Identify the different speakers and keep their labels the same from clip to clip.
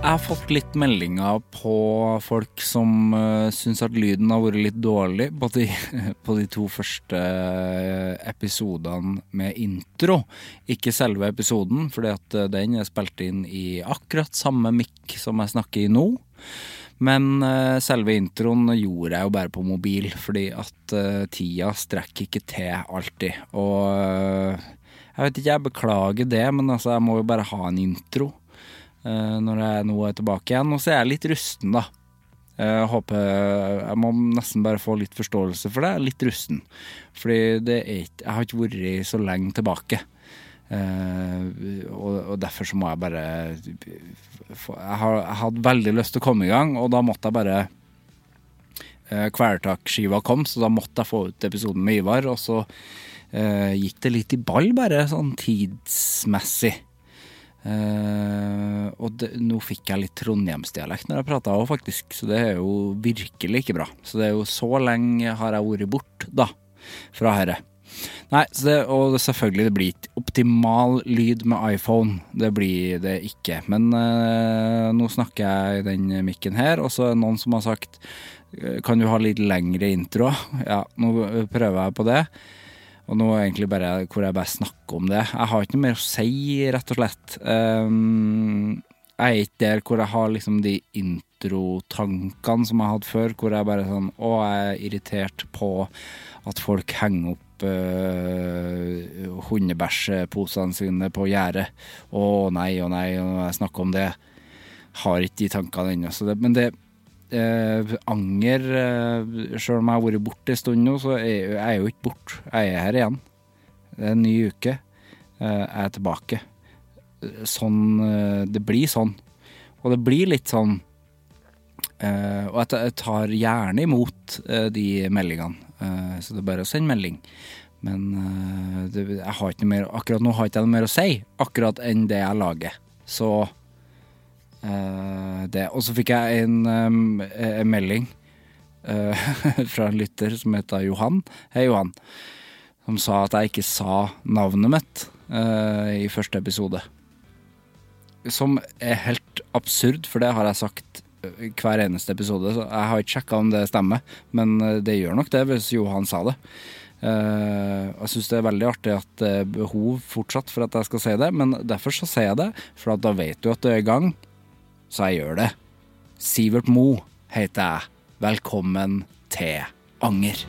Speaker 1: Jeg har fått litt meldinger på folk som uh, syns at lyden har vært litt dårlig på de, på de to første eh, episodene med intro. Ikke selve episoden, fordi at eh, den er spilt inn i akkurat samme mikk som jeg snakker i nå. Men eh, selve introen gjorde jeg jo bare på mobil, fordi at eh, tida strekker ikke til alltid. Og eh, jeg vet ikke, jeg beklager det, men altså, jeg må jo bare ha en intro eh, når jeg nå er tilbake igjen. Og så er jeg litt rusten, da. Eh, Jeg håper Jeg må nesten bare få litt forståelse for det. Jeg er Litt rusten. Fordi det er ikke Jeg har ikke vært så lenge tilbake. Eh, og, og derfor så må jeg bare få- jeg, har, jeg hadde veldig lyst til å komme i gang, og da måtte jeg bare uh, Kvelertak-skiva kom, så da måtte jeg få ut episoden med Ivar. Og så eh, gikk det litt i ball, bare sånn tidsmessig. Eh, og det, nå fikk jeg litt trondhjemsdialekt når jeg prata òg, faktisk. Så det er jo virkelig ikke bra. Så det er jo så lenge har jeg vært bort da, fra herre. Nei, så det, og det, selvfølgelig, det blir ikke optimal lyd med iPhone. Det blir det ikke. Men eh, nå snakker jeg i den mikken her, og så er det noen som har sagt eh, Kan du ha litt lengre intro? Ja, nå eh, prøver jeg på det. Og nå er egentlig bare hvor jeg bare snakker om det. Jeg har ikke noe mer å si, rett og slett. Ehm, jeg er ikke der hvor jeg har liksom de introtankene som jeg hadde før, hvor jeg bare sånn Å, jeg er irritert på at folk henger opp øh, hundebæsjposene sine på gjerdet. Å nei, å nei, og når jeg snakker om det. Har ikke de tankene ennå. så det- Men det eh, anger eh, Selv om jeg har vært borte en stund nå, så er jeg, jeg er jo ikke borte. Jeg er her igjen. Det er en ny uke. Eh, jeg er tilbake. Eh, Sånn eh, Det blir sånn. Og det blir litt sånn eh, Og jeg ta- jeg tar gjerne imot eh, de meldingene. Eh, så det er bare å sende melding. Men eh, det, jeg har ikke noe mer, akkurat nå har ikke jeg noe mer å si akkurat enn det jeg lager. Så Eh, det. Og så fikk jeg en, em, eh, en melding eh, fra en lytter som heter Johan. Hei, Johan. Som sa at jeg ikke sa navnet mitt eh, i første episode. Som er helt absurd, for det har jeg sagt eh, hver eneste episode. Så jeg har ikke sjekka om det stemmer, men eh, det gjør nok det hvis Johan sa det. Eh, jeg syns det er veldig artig at det er behov fortsatt for at jeg skal si det, men derfor så sier jeg det, for at da vet du at du er i gang så jeg gjør det. Sivert Mo heter jeg. Velkommen til Anger.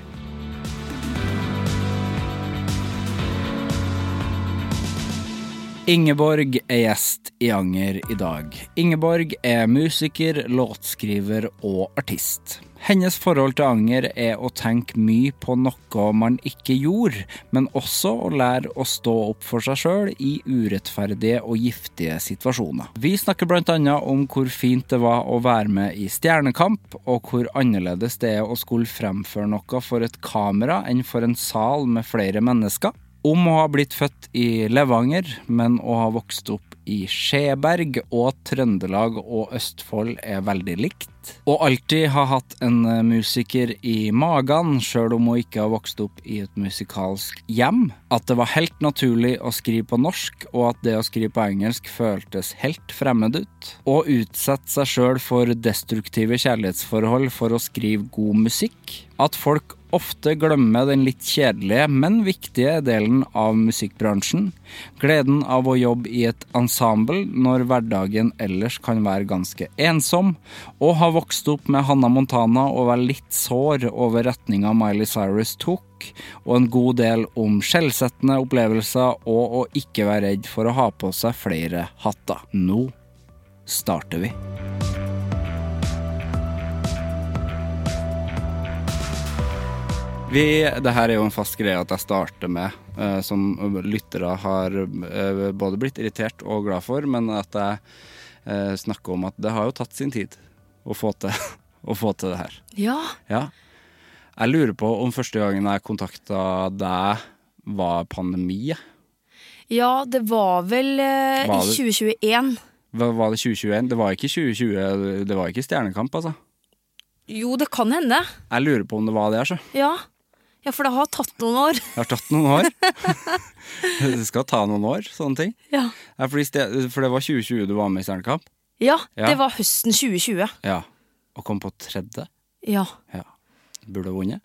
Speaker 1: Ingeborg er gjest i Anger i dag. Ingeborg er musiker, låtskriver og artist. Hennes forhold til anger er å tenke mye på noe man ikke gjorde, men også å lære å stå opp for seg sjøl i urettferdige og giftige situasjoner. Vi snakker blant annet om hvor fint det var å være med i Stjernekamp, og hvor annerledes det er å skulle fremføre noe for et kamera enn for en sal med flere mennesker. Om å ha blitt født i Levanger, men å ha vokst opp i Skjeberg og Trøndelag og Østfold er veldig likt. Og alltid ha hatt en eh, musiker i magen, sjøl om hun ikke har vokst opp i et musikalsk hjem. At det var helt naturlig å skrive på norsk, og at det å skrive på engelsk føltes helt fremmed ut. Og utsette seg sjøl for destruktive kjærlighetsforhold for å skrive god musikk. At folk ofte glemme den litt kjedelige, men viktige delen av musikkbransjen. Gleden av å jobbe i et ensemble når hverdagen ellers kan være ganske ensom. Og har vokst opp med Hanna Montana og var litt sår over retninga Miley Cyrus tok. Og en god del om skjellsettende opplevelser og å ikke være redd for å ha på seg flere hatter. Nå starter vi. Vi, det her er jo en fast greie at jeg starter med, eh, som lyttere har eh, både blitt irritert og glad for, men at jeg eh, snakker om at det har jo tatt sin tid å få til, å få til det her.
Speaker 2: Ja.
Speaker 1: Ja. Jeg lurer på om første gangen jeg kontakta deg, var pandemi?
Speaker 2: ja, det var vel eh,
Speaker 1: Var
Speaker 2: i
Speaker 1: det-
Speaker 2: 2021.
Speaker 1: Var var det 2021? Det var ikke 2020, det var ikke Stjernekamp, altså.
Speaker 2: Jo, det kan hende.
Speaker 1: Jeg lurer på om det var det, altså.
Speaker 2: Ja. ja, for det har tatt noen år.
Speaker 1: Det har tatt noen år. det skal ta noen år, sånne ting.
Speaker 2: Ja,
Speaker 1: Ja, fordi ste- for det var 2020 du var med i Stjernekamp?
Speaker 2: ja,
Speaker 1: Ja.
Speaker 2: det var høsten 2020.
Speaker 1: Ja, og kom på tredje.
Speaker 2: Ja.
Speaker 1: Ja. Burde ha vunnet,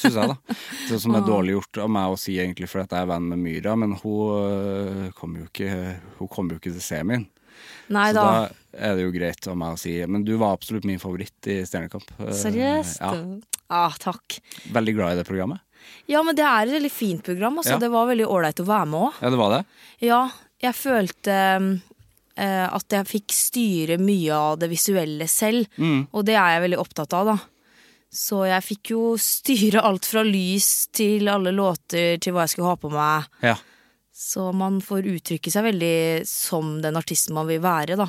Speaker 1: syns jeg, da. Det som er dårlig gjort av meg å si, egentlig, fordi at jeg er venn med Myra, men hun øh, kom jo ikke, hun kom jo ikke til semien.
Speaker 2: Nei
Speaker 1: Så
Speaker 2: da.
Speaker 1: da er det jo greit av meg å si Men du var absolutt min favoritt i Stjernekamp. Eh,
Speaker 2: Seriøst?
Speaker 1: Ja,
Speaker 2: Ah, takk.
Speaker 1: veldig glad i det programmet.
Speaker 2: Ja, men det er et veldig fint program. Altså.
Speaker 1: Ja.
Speaker 2: Det var veldig ålreit å være med òg.
Speaker 1: Ja, det var det.
Speaker 2: Ja, jeg følte mm, eh, at jeg fikk styre mye av det visuelle selv, og det er jeg veldig opptatt av, da. Så jeg fikk jo styre alt fra lys til alle låter til hva jeg skulle ha på meg.
Speaker 1: Ja.
Speaker 2: Så man får uttrykke seg veldig som den artisten man vil være, da.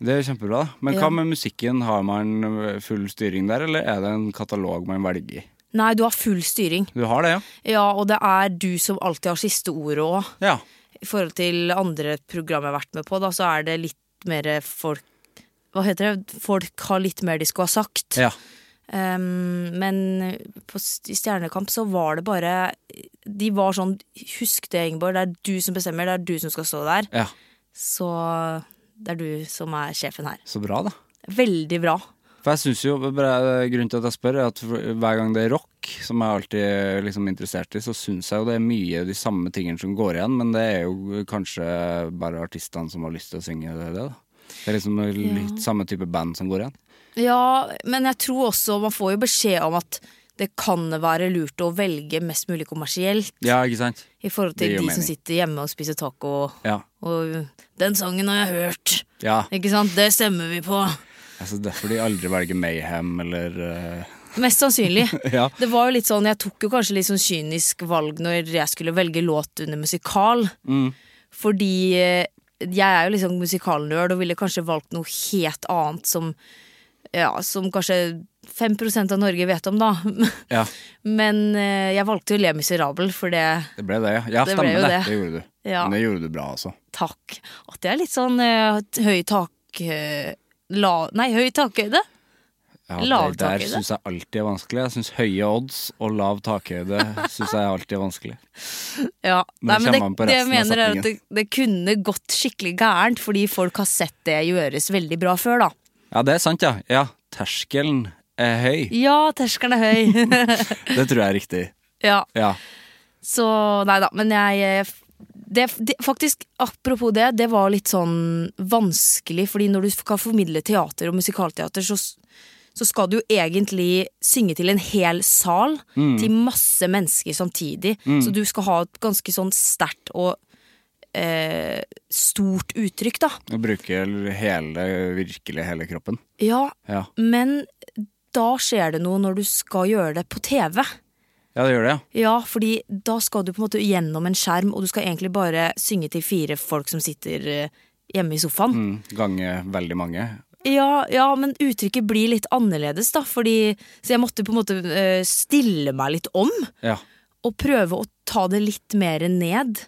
Speaker 1: Det er kjempebra. da. Men
Speaker 2: Ja.
Speaker 1: hva med musikken? Har man full styring der, eller er det en katalog man velger i?
Speaker 2: Nei, du har full styring.
Speaker 1: Du har det, ja?
Speaker 2: Ja, og det er du som alltid har siste ordet òg.
Speaker 1: Ja.
Speaker 2: I forhold til andre program jeg har vært med på, da, så er det litt mer folk Hva heter det? Folk har litt mer de skulle ha sagt.
Speaker 1: ja.
Speaker 2: Ehm, men på, s- i Stjernekamp så var det bare De var sånn Husk det, Ingeborg. Det er du som bestemmer. Det er du som skal stå der.
Speaker 1: Ja.
Speaker 2: Så det er du som er sjefen her.
Speaker 1: Så bra, da.
Speaker 2: Veldig bra.
Speaker 1: For jeg synes jo, bare eh, Grunnen til at jeg spør, er at hver gang det er rock, som jeg alltid er liksom interessert i, så syns jeg jo det er mye de samme tingene som går igjen, men det er jo kanskje bare artistene som har lyst til å synge det. det da. Det er liksom litt samme type band som går igjen.
Speaker 2: Ja, men jeg tror også man får jo beskjed om at det kan være lurt å velge mest mulig kommersielt.
Speaker 1: Ja, ikke sant?
Speaker 2: I forhold til
Speaker 1: Det
Speaker 2: de
Speaker 1: gir jo
Speaker 2: som
Speaker 1: mening.
Speaker 2: sitter hjemme og spiser taco.
Speaker 1: Ja.
Speaker 2: Og den sangen har jeg hørt.
Speaker 1: ja.
Speaker 2: Ikke sant? Det stemmer vi på.
Speaker 1: Altså, derfor de aldri velger Mayhem eller eh,
Speaker 2: Mest sannsynlig.
Speaker 1: Ja.
Speaker 2: Det var jo litt sånn, Jeg tok jo kanskje litt sånn kynisk valg når jeg skulle velge låt under musikal. Fordi eh, jeg er jo liksom musikalnerd og ville kanskje valgt noe helt annet som, ja, som kanskje 5 av Norge vet om, da.
Speaker 1: Ja,
Speaker 2: Men eh, jeg valgte jo Le Miserabel, for det
Speaker 1: det ble det, ja. Ja,
Speaker 2: Det ble
Speaker 1: stemmer
Speaker 2: jo
Speaker 1: det.
Speaker 2: det.
Speaker 1: Det gjorde du.
Speaker 2: Ja.
Speaker 1: Men det gjorde du bra, altså.
Speaker 2: Takk. At det er litt sånn eh, høy tak... eh, la, nei, høy takhøyde.
Speaker 1: Ja,
Speaker 2: Lav
Speaker 1: det der
Speaker 2: takhøyde.
Speaker 1: syns jeg alltid er vanskelig. Jeg syns høye odds og lav takhøyde syns jeg alltid er vanskelig.
Speaker 2: Ja. Nei, men
Speaker 1: kommer
Speaker 2: det,
Speaker 1: man på
Speaker 2: det jeg
Speaker 1: resten av
Speaker 2: mener er
Speaker 1: setningen.
Speaker 2: at det, det kunne gått skikkelig gærent, fordi folk har sett det gjøres veldig bra før, da.
Speaker 1: Ja, det er sant, ja. ja. Terskelen er høy.
Speaker 2: Ja, terskelen er høy.
Speaker 1: Det tror jeg er riktig.
Speaker 2: ja,
Speaker 1: Ja.
Speaker 2: så nei da, men jeg eh, det, det, faktisk, Apropos det, det var litt sånn vanskelig, fordi når du skal formidle teater og musikalteater, så, s- så skal du jo egentlig synge til en hel sal,
Speaker 1: Mm.
Speaker 2: til masse mennesker samtidig. Så du skal ha et ganske sånn sterkt og eh, stort uttrykk, da.
Speaker 1: Å bruke hele, virkelig hele kroppen.
Speaker 2: Ja,
Speaker 1: Ja,
Speaker 2: men da skjer det noe når du skal gjøre det på TV.
Speaker 1: ja det gjør det, ja.
Speaker 2: Ja, fordi da skal du på en måte gjennom en skjerm, og du skal egentlig bare synge til fire folk som sitter eh, hjemme i sofaen.
Speaker 1: Mm, Gange veldig mange.
Speaker 2: Ja, ja, men uttrykket blir litt annerledes, da, fordi Så jeg måtte på en måte eh, stille meg litt om.
Speaker 1: Ja.
Speaker 2: å prøve å ta det litt mer ned,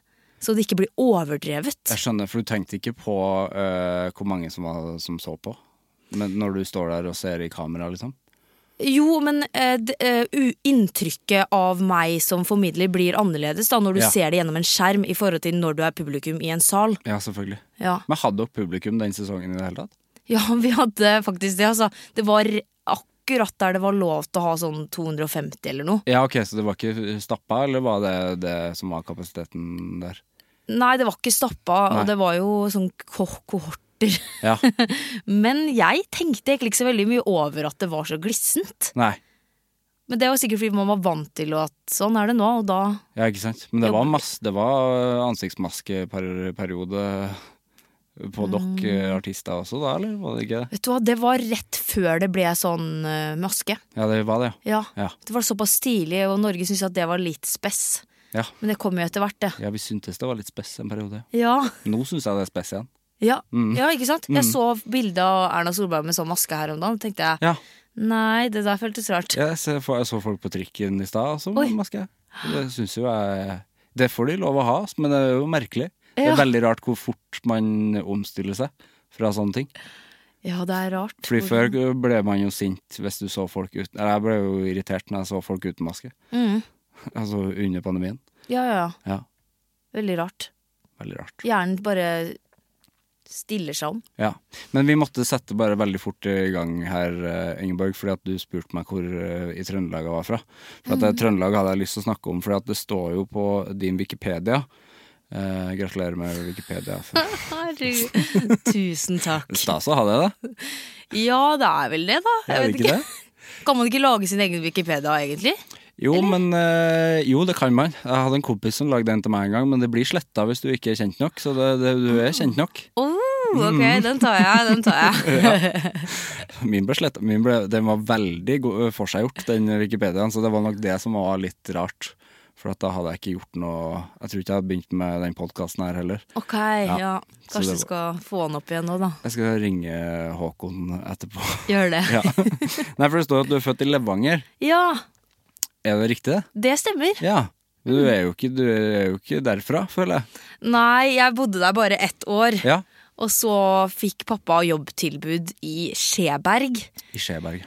Speaker 2: så det ikke blir overdrevet.
Speaker 1: Jeg skjønner, for du tenkte ikke på eh, hvor mange som, var, som så på. Men når du står der og ser i kamera, liksom.
Speaker 2: Jo, men eh, d- eh, u- inntrykket av meg som formidler blir annerledes da når du
Speaker 1: Ja.
Speaker 2: ser det gjennom en skjerm i forhold til når du er publikum i en sal.
Speaker 1: Ja, selvfølgelig.
Speaker 2: Ja,
Speaker 1: Men hadde dere publikum den sesongen i det hele tatt?
Speaker 2: ja vi hadde faktisk det, altså. Det var akkurat der det var lov til å ha sånn 250 eller noe.
Speaker 1: Ja, ok, Så det var ikke stappa, eller var det det som var kapasiteten der?
Speaker 2: Nei, det var ikke stappa,
Speaker 1: Nei.
Speaker 2: og det var jo sånn ko- kohorter.
Speaker 1: Ja,
Speaker 2: Men jeg tenkte egentlig ikke så veldig mye over at det var så glissent.
Speaker 1: nei.
Speaker 2: Men det var sikkert fordi man var vant til at sånn er det nå, og da
Speaker 1: Ja, ikke sant. Men det var, masse, det var eh, ansiktsmaskeperiode på dere artister også da, eller var det ikke det?
Speaker 2: Vet du hva, det var rett før det ble sånn eh, maske.
Speaker 1: Ja, det var det, ja. Ja,
Speaker 2: Ja. Det var såpass stilig, og Norge syntes at det var litt spess.
Speaker 1: ja.
Speaker 2: Men det kom jo etter hvert, det.
Speaker 1: ja vi syntes det var litt spess en periode.
Speaker 2: Ja,
Speaker 1: Nå syns jeg det er spess igjen.
Speaker 2: ja,
Speaker 1: Mm.
Speaker 2: ja ikke sant? Jeg så bilde av Erna Solberg med sånn maske her om dagen, og tenkte jeg
Speaker 1: Ja.
Speaker 2: nei, det der føltes rart.
Speaker 1: Jeg så, jeg så folk på trikken i stad også
Speaker 2: Oi.
Speaker 1: med maske. Det syns jo jeg Det får de lov å ha, men det er jo merkelig. Det
Speaker 2: Ja.
Speaker 1: er veldig rart hvor fort man omstiller seg fra sånne ting.
Speaker 2: Ja, det er rart.
Speaker 1: Fordi
Speaker 2: Hvordan-
Speaker 1: før ble man jo sint hvis du så folk uten Eller jeg ble jo irritert når jeg så folk uten maske.
Speaker 2: Mm.
Speaker 1: Altså under pandemien.
Speaker 2: Ja, ja, ja.
Speaker 1: Ja,
Speaker 2: Veldig rart.
Speaker 1: veldig rart.
Speaker 2: Hjernen bare stiller seg om.
Speaker 1: Ja. Men vi måtte sette bare veldig fort i gang her, eh, Ingeborg, fordi at du spurte meg hvor eh, i Trøndelag jeg var fra. For at
Speaker 2: Mhm.
Speaker 1: eh, Trøndelag hadde jeg lyst til å snakke om, fordi at det står jo på din Wikipedia. Eh, gratulerer med Wikipedia. for-
Speaker 2: Herregud. Tusen takk.
Speaker 1: Stas å ha det, da.
Speaker 2: Ja, det er vel det, da. Jeg
Speaker 1: Er det
Speaker 2: vet
Speaker 1: ikke
Speaker 2: ikke.
Speaker 1: det?
Speaker 2: Kan man ikke lage sin egen Wikipedia, egentlig?
Speaker 1: Jo, men eh, Jo, det kan man. Jeg hadde en kompis som lagde en til meg en gang, men det blir sletta hvis du ikke er kjent nok. Så det, det, du er kjent nok.
Speaker 2: Oh,
Speaker 1: Mm.
Speaker 2: ok, den tar jeg, den tar jeg.
Speaker 1: Min ble sletta. Min ble, den var veldig go- eh, forseggjort, den Wikipediaen, så det var nok det som var litt rart. For at da hadde jeg ikke gjort noe Jeg tror ikke jeg hadde begynt med den podkasten her heller.
Speaker 2: Ok, ja.
Speaker 1: Så
Speaker 2: Kanskje
Speaker 1: det
Speaker 2: du skal få den opp igjen nå, da.
Speaker 1: Jeg skal ringe Håkon etterpå.
Speaker 2: Gjør det.
Speaker 1: Ja. Nei, for det står at du er født i Levanger.
Speaker 2: Ja,
Speaker 1: Er det riktig, det?
Speaker 2: det stemmer.
Speaker 1: Ja. Men Du er jo ikke, du er jo ikke derfra, føler jeg.
Speaker 2: Nei, jeg bodde der bare ett år.
Speaker 1: Ja.
Speaker 2: Og så fikk pappa jobbtilbud i Skjeberg.
Speaker 1: I Skjeberg.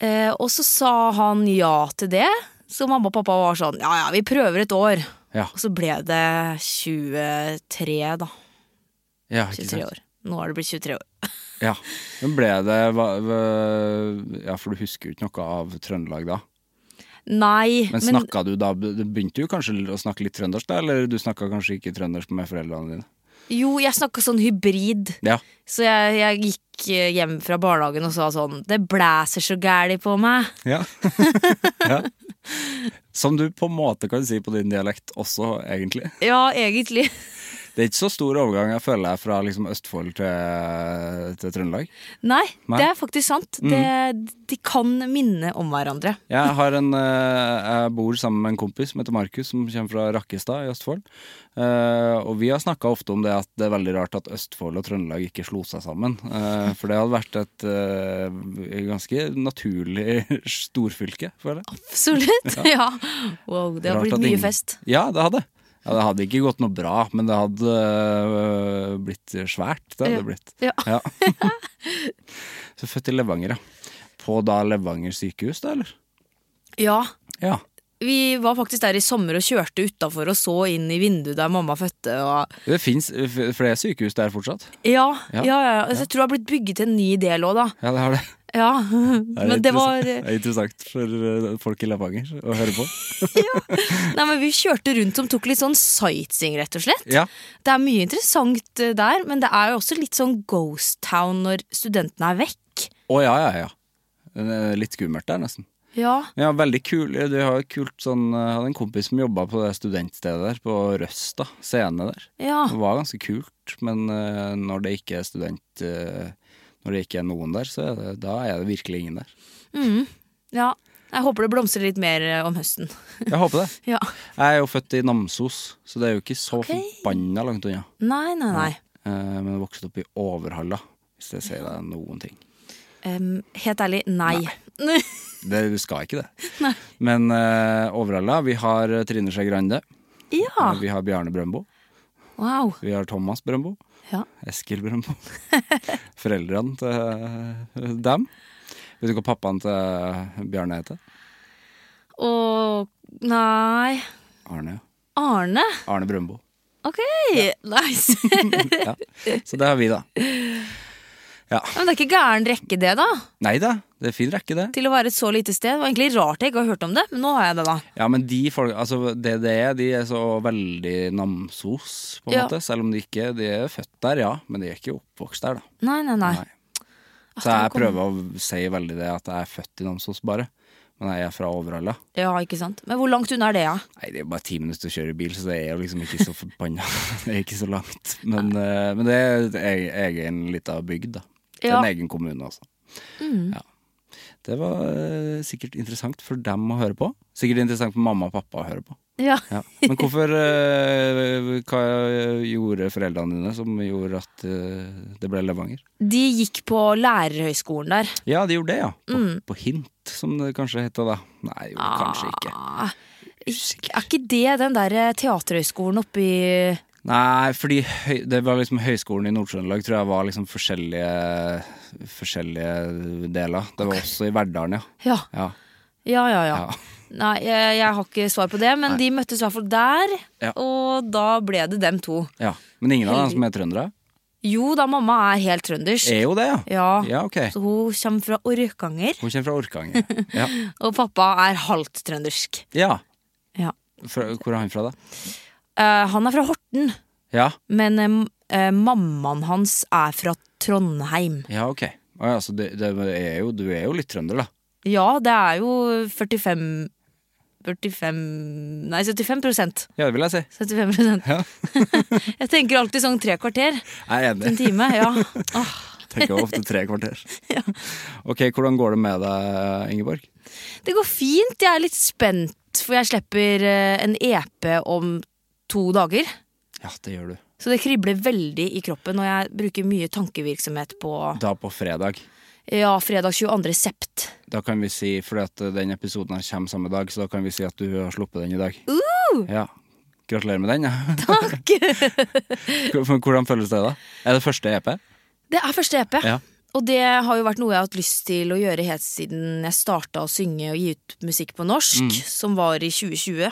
Speaker 2: Eh, og så sa han ja til det. Så mamma og pappa var sånn ja ja, vi prøver et år.
Speaker 1: Ja.
Speaker 2: Og så ble det 23, da.
Speaker 1: ja ikke
Speaker 2: 23
Speaker 1: sant.
Speaker 2: år. Nå er det blitt 23 år.
Speaker 1: Ja. Men ble det hva, hva- Ja, for du husker jo ikke noe av Trøndelag da?
Speaker 2: Nei,
Speaker 1: Men snakka du da Du begynte jo kanskje å snakke litt trøndersk da, eller du snakka kanskje ikke trøndersk med foreldrene dine?
Speaker 2: jo, jeg snakka sånn hybrid.
Speaker 1: Ja.
Speaker 2: Så jeg, jeg gikk eh, hjem fra barnehagen og sa sånn Det blæser så gæli på meg.
Speaker 1: ja. Som du på en måte kan si på din dialekt også, egentlig.
Speaker 2: Ja, egentlig.
Speaker 1: Det er ikke så stor overgang jeg føler jeg fra liksom Østfold til, til Trøndelag.
Speaker 2: Nei,
Speaker 1: Nei. Mm.
Speaker 2: det er faktisk sant. Det, de kan minne om hverandre.
Speaker 1: Jeg, har en, eh, jeg bor sammen med en kompis som heter Markus, som kommer fra Rakkestad i Østfold. Eh, og vi har snakka ofte om det at det er veldig rart at Østfold og Trøndelag ikke slo seg sammen. Eh, for det hadde vært et eh, ganske naturlig storfylke, føler jeg.
Speaker 2: Absolutt. Ja. Wow, det har
Speaker 1: Rart
Speaker 2: blitt
Speaker 1: at
Speaker 2: mye
Speaker 1: ingen-
Speaker 2: fest.
Speaker 1: Ja, det hadde. Ja, det hadde ikke gått noe bra, men det hadde eh, blitt svært. Det hadde
Speaker 2: Ja.
Speaker 1: blitt.
Speaker 2: Ja.
Speaker 1: Ja. Så født i Levanger, ja. På da Levanger sykehus, da, eller?
Speaker 2: ja.
Speaker 1: Ja.
Speaker 2: Vi var faktisk der i sommer og kjørte utafor og så inn i vinduet der mamma fødte. Og
Speaker 1: Det fins flere sykehus der fortsatt.
Speaker 2: ja, ja,
Speaker 1: Ja.
Speaker 2: ja, Altså, Jeg tror det har blitt bygget en ny del òg, da.
Speaker 1: Ja, det har det.
Speaker 2: Ja.
Speaker 1: Det er,
Speaker 2: Men det var
Speaker 1: interessant- det er interessant for eh, folk i Levanger å høre på.
Speaker 2: Nei, men vi kjørte rundt som tok litt sånn sightseeing, rett og slett.
Speaker 1: Ja,
Speaker 2: Det er mye interessant eh, der, men det er jo også litt sånn ghost town når studentene er vekk.
Speaker 1: Å ja, ja, ja. Det er Litt skummelt der, nesten.
Speaker 2: Ja.
Speaker 1: Ja, veldig kul. Du har jo kult sånn Jeg hadde en kompis som jobba på det studentstedet der, på Røsta scene der.
Speaker 2: Ja.
Speaker 1: Det var ganske kult, men eh, når det ikke er student eh, Når det ikke er noen der, så er det, da er det virkelig ingen der.
Speaker 2: ja. Jeg håper det blomstrer litt mer eh, om høsten.
Speaker 1: Jeg håper det.
Speaker 2: Ja.
Speaker 1: Jeg er jo født i Namsos, så det er jo ikke så
Speaker 2: Ok.
Speaker 1: forbanna langt unna.
Speaker 2: Nei, nei, nei.
Speaker 1: Eh, Men jeg vokste opp i Overhalla, hvis det sier deg noen ting.
Speaker 2: Em, helt ærlig, nei.
Speaker 1: Det, du skal ikke det. Men eh, overalla, vi har eh, Trine Skei Grande. Eh,
Speaker 2: Ja.
Speaker 1: Vi har Bjarne Brøndbo.
Speaker 2: Wow.
Speaker 1: Vi har Thomas Brøndbo.
Speaker 2: Ja.
Speaker 1: Eskil Brøndbo. Foreldrene til eh, dem. Vet du hva pappaen til Bjarne heter?
Speaker 2: Og Nei.
Speaker 1: Arne.
Speaker 2: Arne?
Speaker 1: Arne Brøndbo.
Speaker 2: Ok, nice. Men
Speaker 1: Ja. Så det har vi, da.
Speaker 2: det er ikke gæren rekke, det, da.
Speaker 1: Nei da, det er fin rekke, det.
Speaker 2: Til å være et så lite sted. Det var egentlig rart jeg ikke har hørt om det, men nå har jeg det, da.
Speaker 1: Ja, men de folk, altså det det er, de er så veldig Namsos, på en
Speaker 2: Ja.
Speaker 1: måte. Selv om de ikke de er født der, ja. Men de er ikke oppvokst der, da.
Speaker 2: Nei, nei, nei.
Speaker 1: Nei. Så
Speaker 2: Ah,
Speaker 1: jeg
Speaker 2: kom-
Speaker 1: prøver å si veldig det at jeg er født i Namsos, bare. Men jeg er fra Overhalla.
Speaker 2: Ja, ikke sant. Men hvor langt unna er det, ja?
Speaker 1: Nei, det er bare ti minutter å kjøre bil, så det er jo liksom ikke så forbanna. det er ikke så langt. Men, eh, men det er det er egen lita bygd, da. Det er
Speaker 2: Ja. Mm.
Speaker 1: en egen kommune, altså. Ja. Det var eh, sikkert interessant for dem å høre på. Sikkert interessant for mamma og pappa å høre på.
Speaker 2: Ja.
Speaker 1: Ja. Men hvorfor eh, Hva gjorde foreldrene dine som gjorde at eh, det ble Levanger?
Speaker 2: De gikk på lærerhøyskolen der.
Speaker 1: Ja, de gjorde det, ja. På, på Hint, som det kanskje het da. Nei, jo, kanskje ikke.
Speaker 2: Mm. Ah, er ikke det den der eh, teaterhøyskolen oppi
Speaker 1: Nei, fordi høy, det var liksom Høgskolen i Nord-Trøndelag tror jeg var liksom forskjellige, forskjellige deler. Det var også i Verdalen, ja.
Speaker 2: Ja,
Speaker 1: Ja.
Speaker 2: ja, ja. ja.
Speaker 1: Ja.
Speaker 2: Nei, jeg, jeg har ikke svar på det, men de møttes i hvert fall der,
Speaker 1: Ja.
Speaker 2: og da ble det dem to.
Speaker 1: ja. Men ingen av dem som er trøndere,
Speaker 2: Jo da, mamma er helt trøndersk.
Speaker 1: er jo det, ja.
Speaker 2: Ja.
Speaker 1: Eh, Ja, ok.
Speaker 2: Så hun kommer fra Orkanger,
Speaker 1: Hun kommer fra Orkanger. Ja.
Speaker 2: og pappa er halvt trøndersk.
Speaker 1: ja.
Speaker 2: Ja.
Speaker 1: Fra, hvor er han fra, da?
Speaker 2: Eh, han er fra Horten,
Speaker 1: Ja,
Speaker 2: men em, eh, mammaen hans er fra Trondheim.
Speaker 1: ja ok. Å Ja, så det, det er jo, du er jo litt trønder, da.
Speaker 2: Ja, det er jo 45 45 Nei, 75
Speaker 1: Ja, det vil jeg si.
Speaker 2: 75
Speaker 1: Ja.
Speaker 2: Jeg tenker alltid sånn tre kvarter.
Speaker 1: Jeg er
Speaker 2: En
Speaker 1: enig.
Speaker 2: time. Ja. Åh.
Speaker 1: Tenker ofte tre kvarter. Ok, hvordan går det med deg, Ingeborg?
Speaker 2: Det går fint. Jeg er litt spent, for jeg slipper eh, en EP om to dager.
Speaker 1: Ja, det gjør du.
Speaker 2: Så det kribler veldig i kroppen, og jeg bruker mye tankevirksomhet på
Speaker 1: Da på fredag.
Speaker 2: ja, fredag 22. sept.
Speaker 1: Da kan vi si, fordi at den episoden her kommer samme dag, så da kan vi si at du har sluppet den i dag. Ja. Gratulerer med den, ja.
Speaker 2: Takk!
Speaker 1: Men Hvordan føles det, da? Er det første E EP?
Speaker 2: Det er første EP.
Speaker 1: Ja.
Speaker 2: Og det har jo vært noe jeg har hatt lyst til å gjøre helt siden jeg starta å synge og gi ut musikk på norsk, som var i 2020.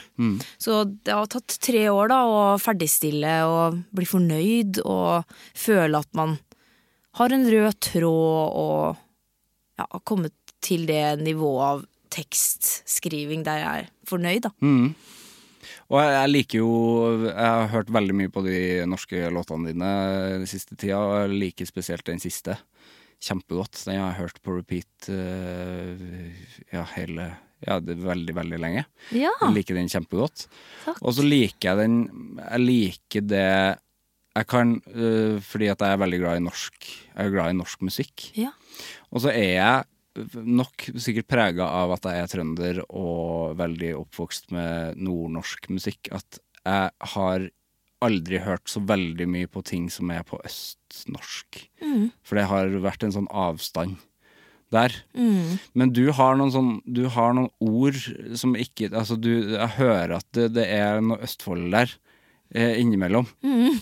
Speaker 2: Så det har tatt tre år da å ferdigstille og bli fornøyd og føle at man har en rød tråd og ja, har kommet til det nivået av tekstskriving der jeg er fornøyd, da.
Speaker 1: Og jeg, jeg liker jo Jeg har hørt veldig mye på de norske låtene dine den siste tida, og jeg liker spesielt den siste. Kjempegodt. Den har jeg hørt på repeat eh, ja, hele Ja, det er veldig, veldig lenge.
Speaker 2: Ja.
Speaker 1: Jeg liker den kjempegodt.
Speaker 2: Takk.
Speaker 1: Og så liker jeg den Jeg liker det jeg kan, øh, fordi at jeg er veldig glad i norsk Jeg er glad i norsk musikk.
Speaker 2: Ja.
Speaker 1: Og så er jeg nok sikkert prega av at jeg er trønder og veldig oppvokst med nordnorsk musikk, at jeg har aldri hørt så veldig mye på ting som er på østnorsk.
Speaker 2: Mm.
Speaker 1: For det har vært en sånn avstand der. Men du har noen sånn Du har noen ord som ikke Altså, du Jeg hører at det, det er noe Østfold der eh, innimellom.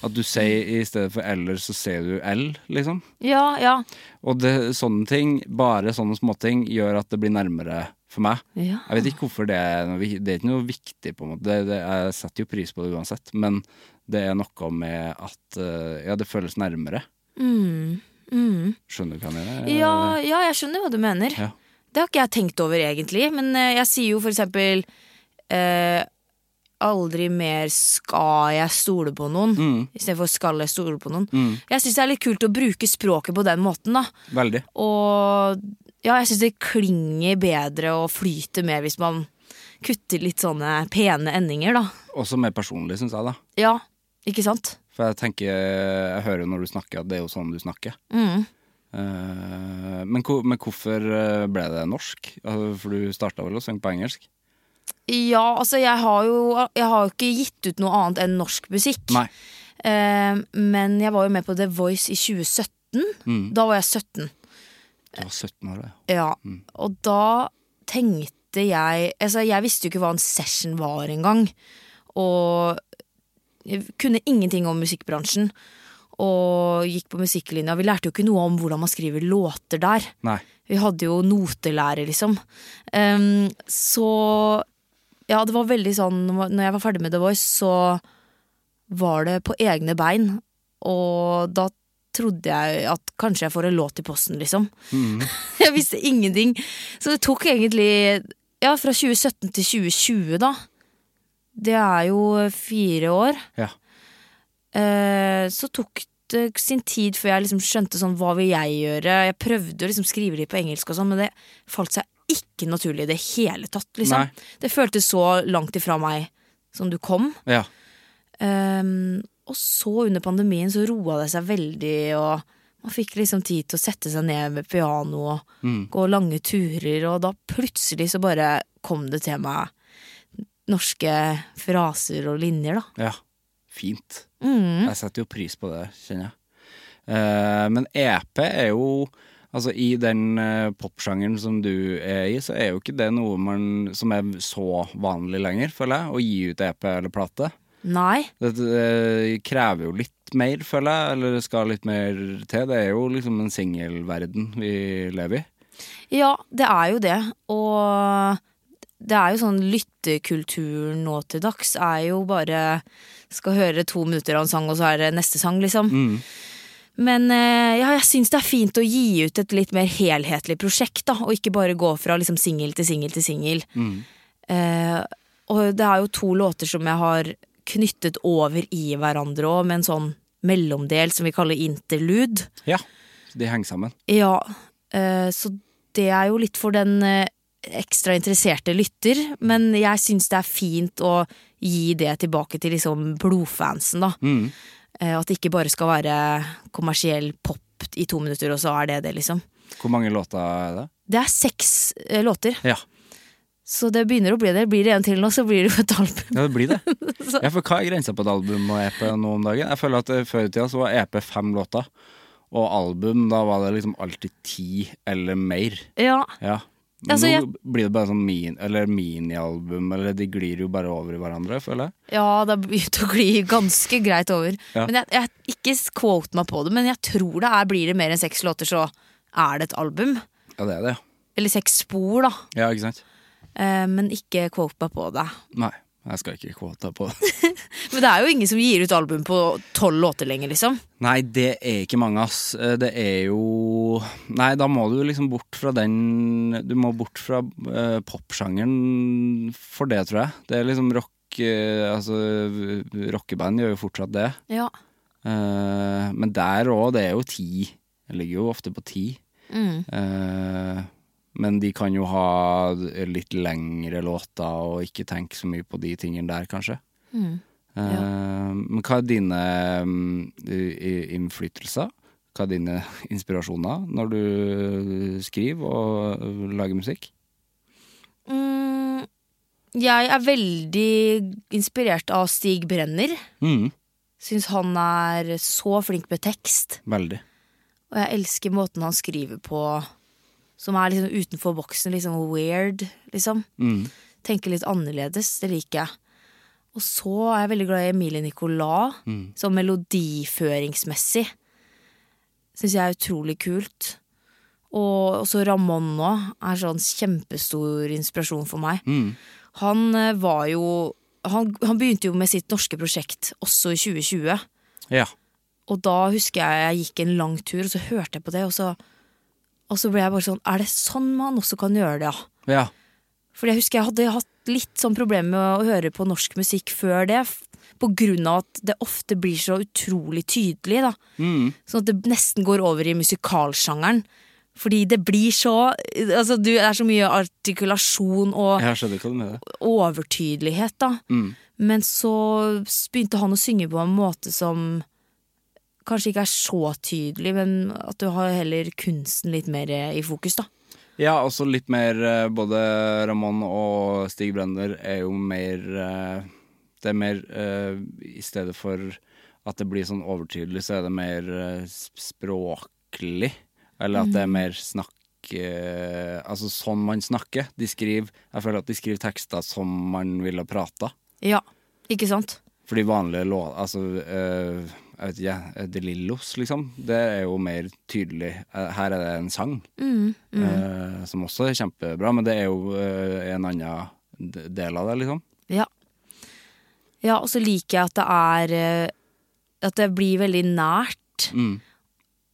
Speaker 1: At du sier i stedet for eller, så sier du L, liksom.
Speaker 2: ja, ja.
Speaker 1: Og det, sånne ting, bare sånne småting, gjør at det blir nærmere for meg.
Speaker 2: Ja.
Speaker 1: Jeg vet ikke hvorfor det er noe, vi- Det er ikke noe viktig, på en måte. Det, det, jeg setter jo pris på det uansett, men det er noe med at eh, Ja, det føles nærmere.
Speaker 2: Mm. Mm.
Speaker 1: Skjønner du hva jeg mener?
Speaker 2: Ja, ja, jeg skjønner hva du mener.
Speaker 1: Ja.
Speaker 2: Det har ikke jeg tenkt over egentlig, men eh, jeg sier jo for eksempel eh, Aldri mer skal jeg stole på noen, istedenfor skal jeg stole på noen. Jeg syns det er litt kult å bruke språket på den måten, da.
Speaker 1: Veldig.
Speaker 2: Og ja, jeg syns det klinger bedre og flyter mer hvis man kutter litt sånne pene endinger, da.
Speaker 1: Også mer personlig, syns jeg, da.
Speaker 2: Ja, ikke sant?
Speaker 1: For jeg tenker Jeg hører jo når du snakker at det er jo sånn du snakker.
Speaker 2: Mm.
Speaker 1: Eh, men, hvor- men hvorfor eh, ble det norsk? Altså, For du starta vel å synge på engelsk?
Speaker 2: Ja, altså jeg har jo jeg har jo ikke gitt ut noe annet enn norsk musikk.
Speaker 1: Nei.
Speaker 2: Eh, men jeg var jo med på The Voice i 2017. Da var jeg 17.
Speaker 1: Du var 17 år, da. ja.
Speaker 2: Ja. Og da tenkte jeg altså Jeg visste jo ikke hva en session var engang. Og jeg kunne ingenting om musikkbransjen. Og gikk på musikklinja. Vi lærte jo ikke noe om hvordan man skriver låter der.
Speaker 1: Nei.
Speaker 2: Vi hadde jo notelære, liksom. Ehm, så Ja, det var veldig sånn Når jeg var ferdig med The Voice, så var det på egne bein. Og da trodde jeg at kanskje jeg får en låt i posten, liksom. jeg visste ingenting. Så det tok egentlig Ja, fra 2017 til 2020, da. Det er jo fire år.
Speaker 1: Ja.
Speaker 2: Eh, så tok det sin tid før jeg liksom skjønte sånn, hva vil jeg gjøre. Jeg prøvde å liksom skrive litt på engelsk, og sånn, men det falt seg ikke naturlig i det hele tatt. Liksom.
Speaker 1: Nei.
Speaker 2: Det føltes så langt ifra meg som du kom.
Speaker 1: ja.
Speaker 2: Ehm, og så under pandemien så roa det seg veldig, og man fikk liksom tid til å sette seg ned med piano og gå lange turer, og da plutselig så bare kom det til meg norske fraser og linjer, da. Mm.
Speaker 1: Ja, fint. Jeg setter jo pris på det, kjenner jeg. Eh, men EP er jo Altså I den eh, popsjangeren som du er i, så er jo ikke det noe man, som er så vanlig lenger, føler jeg. Å gi ut EP eller plate.
Speaker 2: Nei.
Speaker 1: Det, eh, krever jo litt mer, føler jeg. Eller det skal litt mer til. Det er jo liksom en singelverden vi lever i.
Speaker 2: Ja, det er jo det. Og det er jo sånn lyttekulturen nå til dags er jo bare Skal høre to minutter av en sang, og så er det neste sang, liksom. Men eh, ja, jeg syns det er fint å gi ut et litt mer helhetlig prosjekt, da. Og ikke bare gå fra liksom singel til singel til singel. Eh, og det er jo to låter som jeg har knyttet over i hverandre òg, med en sånn mellomdel som vi kaller interlude.
Speaker 1: Ja, de henger sammen.
Speaker 2: Ja, eh, så det er jo litt for den eh, ekstra interesserte lytter, men jeg syns det er fint å gi det tilbake til liksom blodfansen, da. Eh, At det ikke bare skal være kommersiell pop i to minutter, og så er det det, liksom.
Speaker 1: Hvor mange låter er det?
Speaker 2: Det er seks eh, låter,
Speaker 1: Ja,
Speaker 2: så det begynner å bli det. Blir det en til nå, så blir det jo et album.
Speaker 1: ja det blir det. ja, for hva er grensa på et album og EP nå om dagen? Jeg føler at eh, Før i tida så var EP fem låter, og album da var det liksom alltid ti eller mer.
Speaker 2: Ja,
Speaker 1: Ja. Men
Speaker 2: Altså,
Speaker 1: nå
Speaker 2: jeg-
Speaker 1: blir det bare sånn min, eller minialbum, eller de glir jo bare over i hverandre, føler jeg.
Speaker 2: Ja, det har begynt å gli ganske greit over.
Speaker 1: Ja.
Speaker 2: Men jeg, jeg Ikke quote meg på det, men jeg tror det er blir det mer enn seks låter, så er det et album.
Speaker 1: Ja, det er det,
Speaker 2: Eller seks spor, da.
Speaker 1: ja. Ja, ikke sant?
Speaker 2: Eh, men ikke quote meg på det.
Speaker 1: Nei, jeg skal ikke kvote på det.
Speaker 2: Men det er jo ingen som gir ut album på tolv låter lenger, liksom.
Speaker 1: Nei, det er ikke mange, ass. Eh, Det er jo Nei, da må du liksom bort fra den Du må bort fra eh, popsjangeren for det, tror jeg. Det er liksom rock eh, Altså, v- rockeband gjør jo fortsatt det.
Speaker 2: Ja.
Speaker 1: Eh, men der òg, det er jo ti. Det ligger jo ofte på ti. Eh, men de kan jo ha litt lengre låter og ikke tenke så mye på de tingene der, kanskje. Eh, Men hva er dine mm, i- i- innflytelser? Hva er dine inspirasjoner når du skriver og ø, lager musikk?
Speaker 2: Mm, jeg er veldig inspirert av Stig Brenner.
Speaker 1: Mm,
Speaker 2: Syns han er så flink med tekst.
Speaker 1: veldig.
Speaker 2: Og jeg elsker måten han skriver på, som er liksom utenfor boksen, liksom weird, liksom.
Speaker 1: Mm.
Speaker 2: Tenke litt annerledes, det liker jeg. Og så er jeg veldig glad i Emilie Nicolas, sånn melodiføringsmessig. Syns jeg er utrolig kult. Og også Ramón nå er sånn kjempestor inspirasjon for meg. Han eh, var jo han, han begynte jo med sitt norske prosjekt også i 2020.
Speaker 1: Ja.
Speaker 2: Og da husker jeg jeg gikk en lang tur, og så hørte jeg på det, og så, og så ble jeg bare sånn Er det sånn man også kan gjøre det, ja?
Speaker 1: ja.
Speaker 2: Fordi jeg husker jeg hadde hatt litt sånn problemer med å høre på norsk musikk før det. f- På grunn av at det ofte blir så utrolig tydelig. da. Sånn at det nesten går over i musikalsjangeren. Fordi det blir så altså du, Det er så mye artikulasjon og
Speaker 1: Jeg skjønner hva du mener.
Speaker 2: overtydelighet, da. Men så s- begynte han å synge på en måte som kanskje ikke er så tydelig, men at du har heller kunsten litt mer eh, i fokus, da.
Speaker 1: Ja, også litt mer eh, Både Ramón og Stig Brenner er jo mer eh, Det er mer eh, I stedet for at det blir sånn overtydelig, så er det mer eh, s- språklig. Eller at det er mer snakk eh, Altså sånn man snakker. De skriver, jeg føler at de skriver tekster som man ville prata.
Speaker 2: Ja, ikke sant?
Speaker 1: Fordi vanlige låter Altså, eh, jeg vet ikke, eh, De Lillos, liksom. Det er jo mer tydelig. Eh, Her er det en sang, eh, som også er kjempebra, men det er jo eh, en annen d- del av det, liksom.
Speaker 2: Ja. ja, og så liker jeg at det er eh, At det blir veldig nært.
Speaker 1: Mm.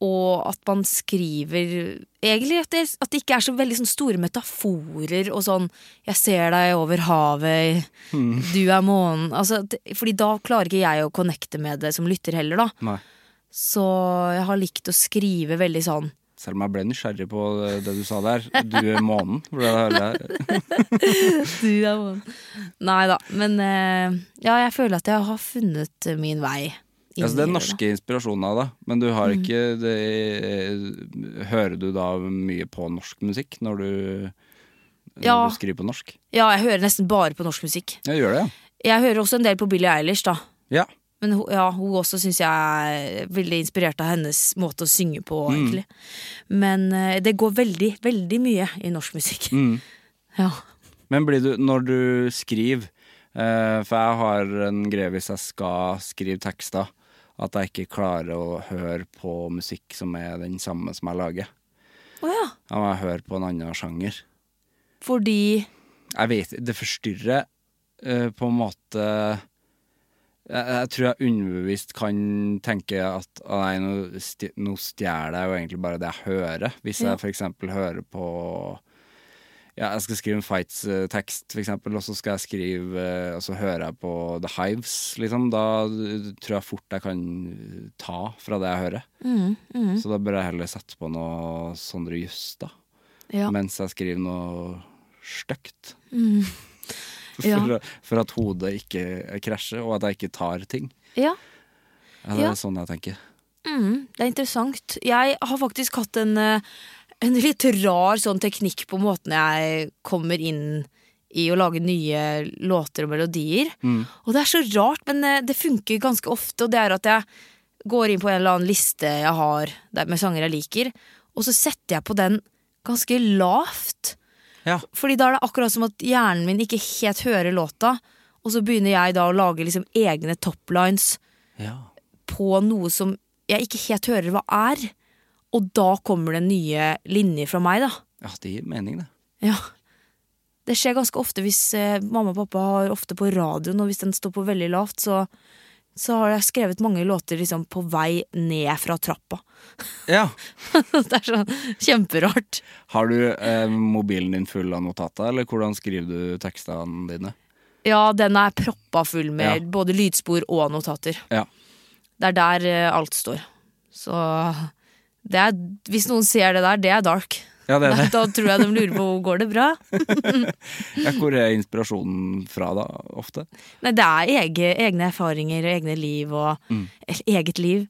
Speaker 2: Og at man skriver Egentlig at det, at det ikke er så veldig sånn store metaforer og sånn 'Jeg ser deg over havet,
Speaker 1: Mm.
Speaker 2: du er månen' altså, det, Fordi da klarer ikke jeg å connecte med det som lytter heller, da.
Speaker 1: Nei.
Speaker 2: Så jeg har likt å skrive veldig sånn
Speaker 1: Selv om jeg ble nysgjerrig på eh, det, det du sa der. Du er månen. for det hører jeg.
Speaker 2: Du er vond. Nei da, men eh, ja, jeg føler at jeg har funnet eh, min vei. inn
Speaker 1: Altså, det
Speaker 2: i
Speaker 1: er norske inspirasjoner av det, men du har ikke det, eh, Hører du da mye på norsk musikk når du, når
Speaker 2: Ja.
Speaker 1: du skriver på norsk?
Speaker 2: Ja, jeg hører nesten bare på norsk musikk.
Speaker 1: Ja, gjør det,
Speaker 2: Jeg hører også en del på Billie Eilish, da.
Speaker 1: ja. ja.
Speaker 2: Men hun, ja, hun også syns jeg er veldig inspirert av hennes måte å synge på, egentlig. Men eh, det går veldig, veldig mye i norsk musikk. Ja.
Speaker 1: Men blir du, når du skriver eh, For jeg har en greie hvis jeg skal skrive tekster, at jeg ikke klarer å høre på musikk som er den samme som jeg lager.
Speaker 2: Å ja.
Speaker 1: Jeg må høre på en annen sjanger.
Speaker 2: Fordi
Speaker 1: Jeg vet Det forstyrrer eh, på en måte jeg, jeg tror jeg underbevisst kan tenke at «Å nei, nå, sti- nå stjeler jeg jo egentlig bare det jeg hører. Hvis
Speaker 2: Ja.
Speaker 1: jeg for eksempel hører på ja, Jeg skal skrive en fights-tekst, for eksempel, og så skal jeg skrive eh, Og så hører jeg på The Hives, liksom. Da eh, tror jeg fort jeg kan ta fra det jeg hører. Så da bør jeg heller sette på noe Sondre Just, da
Speaker 2: Ja. Mm.
Speaker 1: mens jeg skriver noe stygt. For,
Speaker 2: Ja.
Speaker 1: for at hodet ikke krasjer, og at jeg ikke tar ting.
Speaker 2: ja.
Speaker 1: Ja, det
Speaker 2: Ja.
Speaker 1: er sånn jeg tenker.
Speaker 2: Mm, det er interessant. Jeg har faktisk hatt en, eh, en litt rar sånn teknikk på måten jeg kommer inn i å lage nye låter og melodier. Og det er så rart, men eh, det funker ganske ofte. Og det er at jeg går inn på en eller annen liste jeg har der med sanger jeg liker, og så setter jeg på den ganske lavt.
Speaker 1: Ja.
Speaker 2: Fordi da er det akkurat som at hjernen min ikke helt hører låta, og så begynner jeg da å lage liksom egne toplines
Speaker 1: Ja.
Speaker 2: på noe som jeg ikke helt hører hva er. Og da kommer det nye linjer fra meg, da.
Speaker 1: det gir mening, det.
Speaker 2: Ja. Det skjer ganske ofte hvis eh, mamma og pappa har ofte på radioen, og hvis den står på veldig lavt, så, så har jeg skrevet mange låter liksom på vei ned fra trappa.
Speaker 1: Ja.
Speaker 2: det er sånn kjemperart.
Speaker 1: Har du eh, mobilen din full av notater, eller hvordan skriver du tekstene dine?
Speaker 2: Ja, den er proppa full med
Speaker 1: Ja.
Speaker 2: både lydspor og notater.
Speaker 1: Ja.
Speaker 2: Det er der eh, alt står. Så det er, hvis noen ser det der, det er dark.
Speaker 1: Ja, det er det.
Speaker 2: Da tror jeg de lurer på går det bra.
Speaker 1: Ja, hvor er inspirasjonen fra, da, ofte?
Speaker 2: Nei, det er ege, egne erfaringer og egne liv og eller eget liv.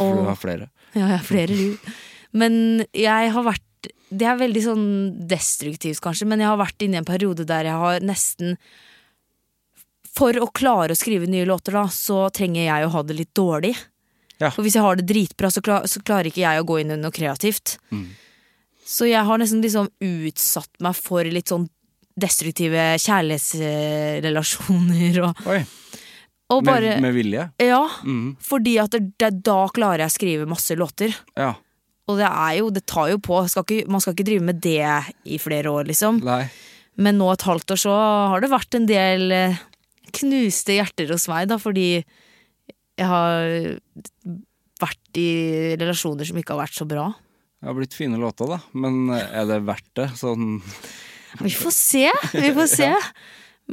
Speaker 1: For
Speaker 2: Og-
Speaker 1: du har flere.
Speaker 2: Ja, jeg har flere liv. Men jeg har vært Det er veldig sånn destruktivt, kanskje, men jeg har vært inne i en periode der jeg har nesten For å klare å skrive nye låter, da, så trenger jeg å ha det litt dårlig.
Speaker 1: Ja.
Speaker 2: For hvis jeg har det dritbra, så, klar, så klarer ikke jeg å gå inn i noe kreativt. Så jeg har nesten liksom utsatt meg for litt sånn destruktive kjærlighetsrelasjoner og,
Speaker 1: Oi.
Speaker 2: og bare
Speaker 1: Med, med vilje?
Speaker 2: ja,
Speaker 1: Mhm.
Speaker 2: fordi at det, det, da klarer jeg å skrive masse låter.
Speaker 1: Ja.
Speaker 2: Og det er jo, det tar jo på. Skal ikke, man skal ikke drive med det i flere år, liksom.
Speaker 1: Nei.
Speaker 2: Men nå et halvt år så har det vært en del eh, knuste hjerter hos meg, da, fordi jeg har vært i relasjoner som ikke har vært så bra.
Speaker 1: Det har blitt fine låter, da. Men eh, er det verdt det? Sånn
Speaker 2: Vi får se, vi får se.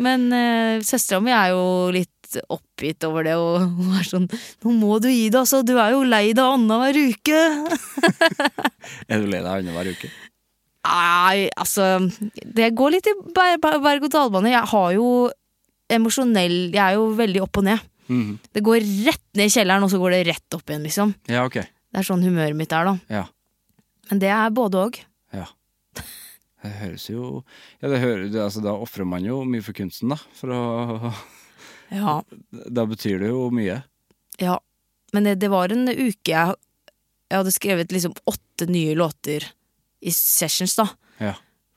Speaker 2: Men uh, søstera mi er jo litt oppgitt over det, og hun er sånn 'Nå må du gi deg, altså. Du er jo lei deg annenhver uke.'
Speaker 1: Er du lei deg annenhver uke?
Speaker 2: Nei, altså Det går litt i ber- ber- berg-og-dal-bane. Jeg har jo emosjonell Jeg er jo veldig opp og ned.
Speaker 1: Mhm.
Speaker 2: Det går rett ned i kjelleren, og så går det rett opp igjen, liksom.
Speaker 1: Ja, ok.
Speaker 2: Det er sånn humøret mitt er, da.
Speaker 1: Ja.
Speaker 2: Men det er både òg.
Speaker 1: Ja. Det høres jo Ja, det hører, det, altså, da ofrer man jo mye for kunsten, da. For å
Speaker 2: Ja.
Speaker 1: Da betyr det jo mye.
Speaker 2: ja. Men det, det var en uke jeg, jeg hadde skrevet liksom åtte nye låter i sessions, da.
Speaker 1: Ja.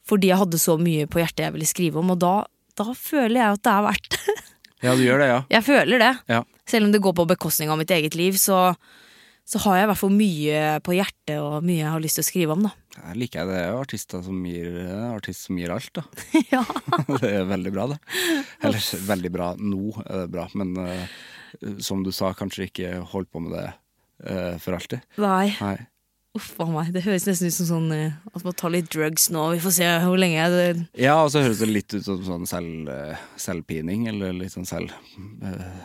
Speaker 2: Fordi jeg hadde så mye på hjertet jeg ville skrive om, og da, da føler jeg at det er verdt det.
Speaker 1: ja, du gjør det, ja.
Speaker 2: Jeg føler det.
Speaker 1: Ja.
Speaker 2: Selv om det går på bekostning av mitt eget liv, så, så har jeg i hvert fall mye på hjertet og mye jeg har lyst til å skrive om, da.
Speaker 1: Jeg liker jeg det. er jo artister som gir, det er en artist som gir alt, da.
Speaker 2: ja.
Speaker 1: Det er veldig bra, det. Eller veldig bra nå, er det bra. Men eh, som du sa, kanskje ikke holdt på med det eh, for alltid.
Speaker 2: Nei.
Speaker 1: Nei.
Speaker 2: Uff a meg. Det høres nesten ut som sånn eh, at man tar litt drugs nå. Vi får se hvor lenge jeg
Speaker 1: Ja, og så høres det litt ut som sånn selv, eh, selvpining, eller litt sånn selv, eh,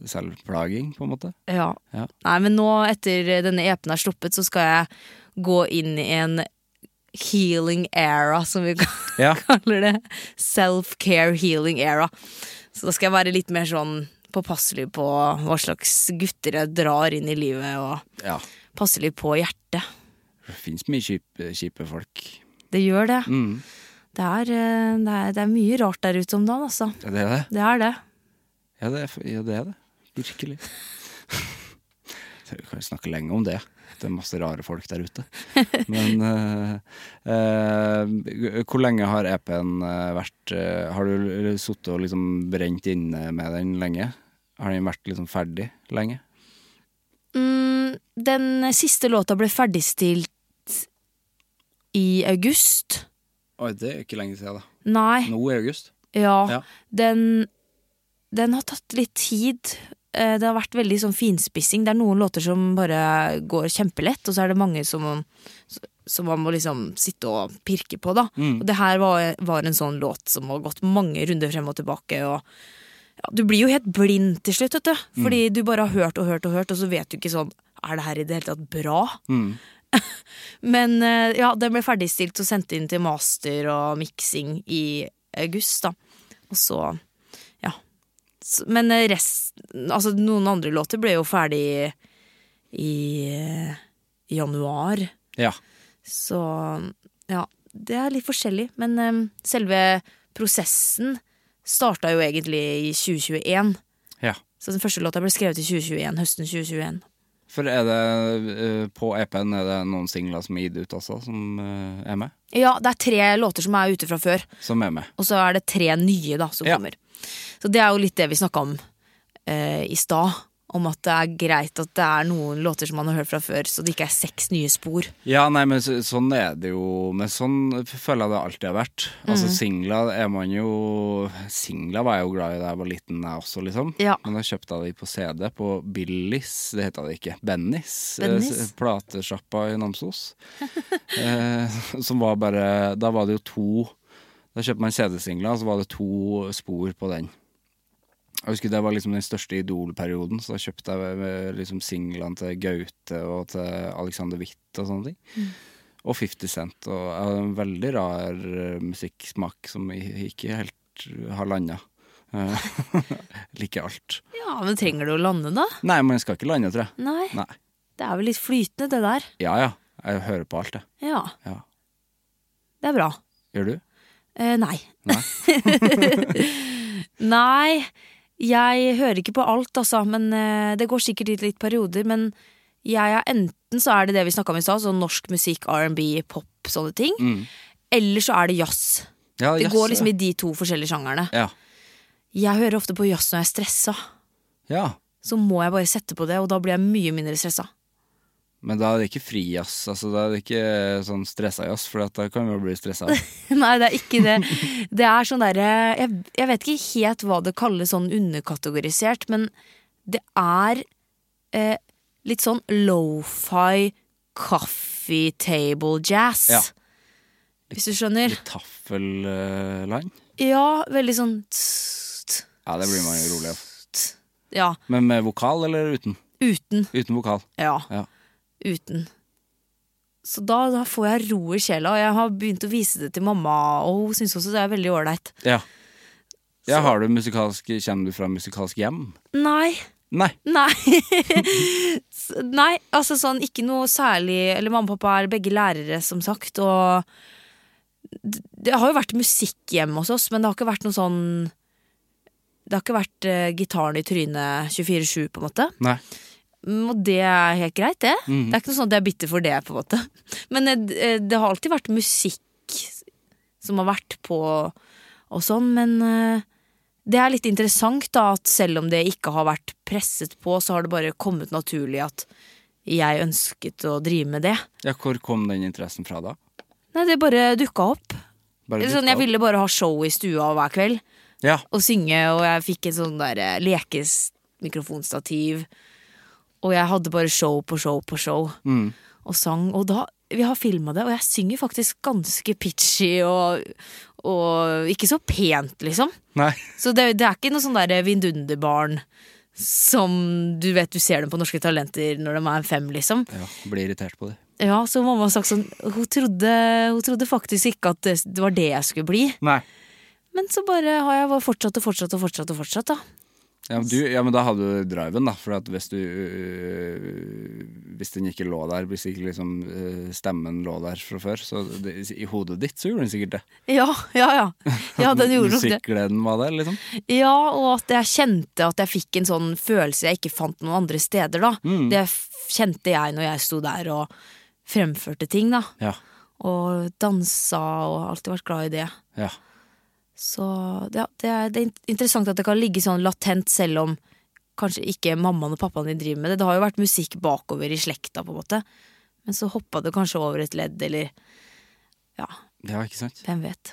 Speaker 1: selvplaging, på en måte.
Speaker 2: ja.
Speaker 1: Ja.
Speaker 2: Nei, men nå etter denne epen er sluppet, så skal jeg gå inn i en healing era, som vi
Speaker 1: Ja.
Speaker 2: kaller det. Self-care healing era. Så da skal jeg være litt mer sånn påpasselig på hva slags gutter jeg drar inn i livet, og
Speaker 1: ja.
Speaker 2: passelig på hjertet.
Speaker 1: Det fins mye kjipe, kjipe folk.
Speaker 2: Det gjør det.
Speaker 1: Mm.
Speaker 2: Det, er, eh, det, er, det er mye rart der ute om dagen, altså.
Speaker 1: Er det det?
Speaker 2: Det er det.
Speaker 1: Ja, det er ja, det. Er det. Virkelig. Så Vi kan jo snakke lenge om det. Det er masse rare folk der ute. Men eh, eh, hvor lenge har EP-en eh, vært eh, Har du sittet og liksom brent inne med den lenge? Har den vært liksom ferdig lenge?
Speaker 2: Mm, den siste låta ble ferdigstilt i august.
Speaker 1: Oi, det er ikke lenge siden, da.
Speaker 2: Nei,
Speaker 1: Nå i august.
Speaker 2: ja.
Speaker 1: Ja.
Speaker 2: Den, den har tatt litt tid. Eh, Det har vært veldig sånn finspissing. Det er noen låter som bare går kjempelett, og så er det mange som, som man må liksom sitte og pirke på, da. Og det her var, var en sånn låt som har gått mange runder frem og tilbake, og ja, du blir jo helt blind til slutt, vet du. Fordi du bare har hørt og hørt og hørt, og så vet du ikke sånn Er det her i det hele tatt bra? Men eh, ja, den ble ferdigstilt og sendt inn til master og miksing i august, da. Og så, ja. S- Men eh, rest, altså noen andre låter ble jo ferdig i eh, januar.
Speaker 1: Ja.
Speaker 2: Så ja, det er litt forskjellig. Men eh, selve prosessen starta jo egentlig i 2021.
Speaker 1: ja.
Speaker 2: Så den første låta ble skrevet i 2021, høsten 2021.
Speaker 1: For er det eh, på EP-en er det noen singler som er gitt ut også, som eh, er med?
Speaker 2: Ja, det er tre låter som er ute fra før.
Speaker 1: Som er med.
Speaker 2: Og så er det tre nye da, som
Speaker 1: Ja.
Speaker 2: kommer. Så det er jo litt det vi snakka om eh, i stad. Om at det er greit at det er noen låter som man har hørt fra før, så det ikke er seks nye spor.
Speaker 1: Ja, nei, men så, sånn er det jo Men sånn f- føler jeg det alltid har vært. Altså singler er man jo Singler var jeg jo glad i da jeg var liten, jeg også, liksom.
Speaker 2: Ja.
Speaker 1: Men da kjøpte jeg de på CD, på Billis, det heter det ikke. Bennys.
Speaker 2: Bennys?
Speaker 1: eh, s- Platesjappa i Namsos. eh, som var bare Da var det jo to Da kjøpte man CD-singler, og så var det to spor på den. Jeg husker Det var liksom den største idolperioden, så da kjøpte jeg eh, liksom singlene til Gaute og til Alexander Witt og sånne ting. Og 50 Cent. Og jeg har en veldig rar eh, musikksmak som jeg ikke helt har landa. Liker alt.
Speaker 2: Ja, men trenger du å lande, da?
Speaker 1: Nei, man skal ikke lande, tror jeg.
Speaker 2: Nei.
Speaker 1: Nei.
Speaker 2: Det er vel litt flytende, det der.
Speaker 1: Ja ja, jeg hører på alt, jeg.
Speaker 2: Ja,
Speaker 1: Ja.
Speaker 2: det er bra.
Speaker 1: Gjør du?
Speaker 2: Eh, nei. nei, jeg hører ikke på alt, altså. Men eh, det går sikkert litt, litt perioder. Men jeg er enten så er det det vi snakka om i stad, sånn norsk musikk, R&B, pop, sånne ting. Eller så er det jazz.
Speaker 1: Ja,
Speaker 2: Det
Speaker 1: yes,
Speaker 2: går liksom
Speaker 1: ja.
Speaker 2: i de to forskjellige sjangerne.
Speaker 1: Ja.
Speaker 2: Jeg hører ofte på jazz når jeg er stressa.
Speaker 1: ja.
Speaker 2: Så må jeg bare sette på det, og da blir jeg mye mindre stressa.
Speaker 1: Men da er det ikke frijazz. Altså, da er det ikke sånn stressa jazz, for at da kan vi jo bli stressa.
Speaker 2: Nei, det er ikke det. Det er sånn derre jeg, jeg vet ikke helt hva det kalles sånn underkategorisert, men det er eh, litt sånn lo-fi coffee table jazz.
Speaker 1: Ja.
Speaker 2: Hvis du skjønner?
Speaker 1: Litt taffelland.
Speaker 2: Ja, veldig sånn tss, tss,
Speaker 1: Ja, det blir man jo rolig av.
Speaker 2: tss. Ja.
Speaker 1: Men med vokal eller uten?
Speaker 2: Uten.
Speaker 1: Uten vokal.
Speaker 2: Ja.
Speaker 1: Ja.
Speaker 2: uten. Så da, da får jeg ro i sjela, og jeg har begynt å vise det til mamma, og hun syns også det er veldig ålreit.
Speaker 1: Ja. ja har du musikalsk, kommer du fra musikalsk hjem?
Speaker 2: Nei.
Speaker 1: Nei.
Speaker 2: Nei. S- Nei, altså sånn ikke noe særlig Eller mamma og pappa er begge lærere, som sagt, og d- Det har jo vært musikk hjemme hos oss, men det har ikke vært noe sånn Det har ikke vært eh, gitaren i trynet 24-7, på en måte.
Speaker 1: Nei.
Speaker 2: Mm, Og det er helt greit, det.
Speaker 1: Mhm.
Speaker 2: Det er ikke noe sånn at jeg er bitter for det, på en måte. Men eh, d- eh, det har alltid vært musikk som har vært på og sånn, men eh, det er litt interessant da at selv om det ikke har vært presset på, så har det bare kommet naturlig at jeg ønsket å drive med det.
Speaker 1: Ja, hvor kom den interessen fra da?
Speaker 2: Nei, det bare dukka opp.
Speaker 1: Bare
Speaker 2: Sånn,
Speaker 1: dukket
Speaker 2: jeg
Speaker 1: opp?
Speaker 2: ville bare ha show i stua hver kveld
Speaker 1: Ja,
Speaker 2: og synge, og jeg fikk en sånn der eh, lekesmikrofonstativ. Og jeg hadde bare show på show på show, og sang. Og da Vi har filma det, og jeg synger faktisk ganske pitchy og, og ikke så pent, liksom.
Speaker 1: nei.
Speaker 2: Så det, det er ikke noe sånn der vindunderbarn som du vet du ser dem på Norske Talenter når de er fem, liksom.
Speaker 1: Ja, blir irritert på det.
Speaker 2: Ja, så mamma har sagt sånn Hun trodde, hun trodde faktisk ikke at det, det var det jeg skulle bli.
Speaker 1: Nei.
Speaker 2: Men så bare har jeg bare fortsatt og fortsatt og fortsatt og fortsatt, da.
Speaker 1: Ja, men du, ja, men da hadde du driven, da. For at hvis du øh, Hvis den ikke lå der, hvis ikke liksom øh, stemmen lå der fra før, så det, i hodet ditt så gjorde den sikkert det.
Speaker 2: Ja, ja, ja. Ja, den gjorde nok det.
Speaker 1: Musikkgleden var der, liksom.
Speaker 2: Ja, og at jeg kjente at jeg fikk en sånn følelse jeg ikke fant noen andre steder, da. Det f- kjente jeg når jeg sto der og fremførte ting, da.
Speaker 1: Ja.
Speaker 2: Og dansa og har alltid vært glad i det.
Speaker 1: Ja.
Speaker 2: Så ja, det, er, det er in- interessant at det kan ligge sånn latent selv om kanskje ikke mammaen og pappaen din driver med det. Det har jo vært musikk bakover i slekta, på en måte. Men så hoppa det kanskje over et ledd, eller ja,
Speaker 1: ja, ikke sant.
Speaker 2: hvem vet.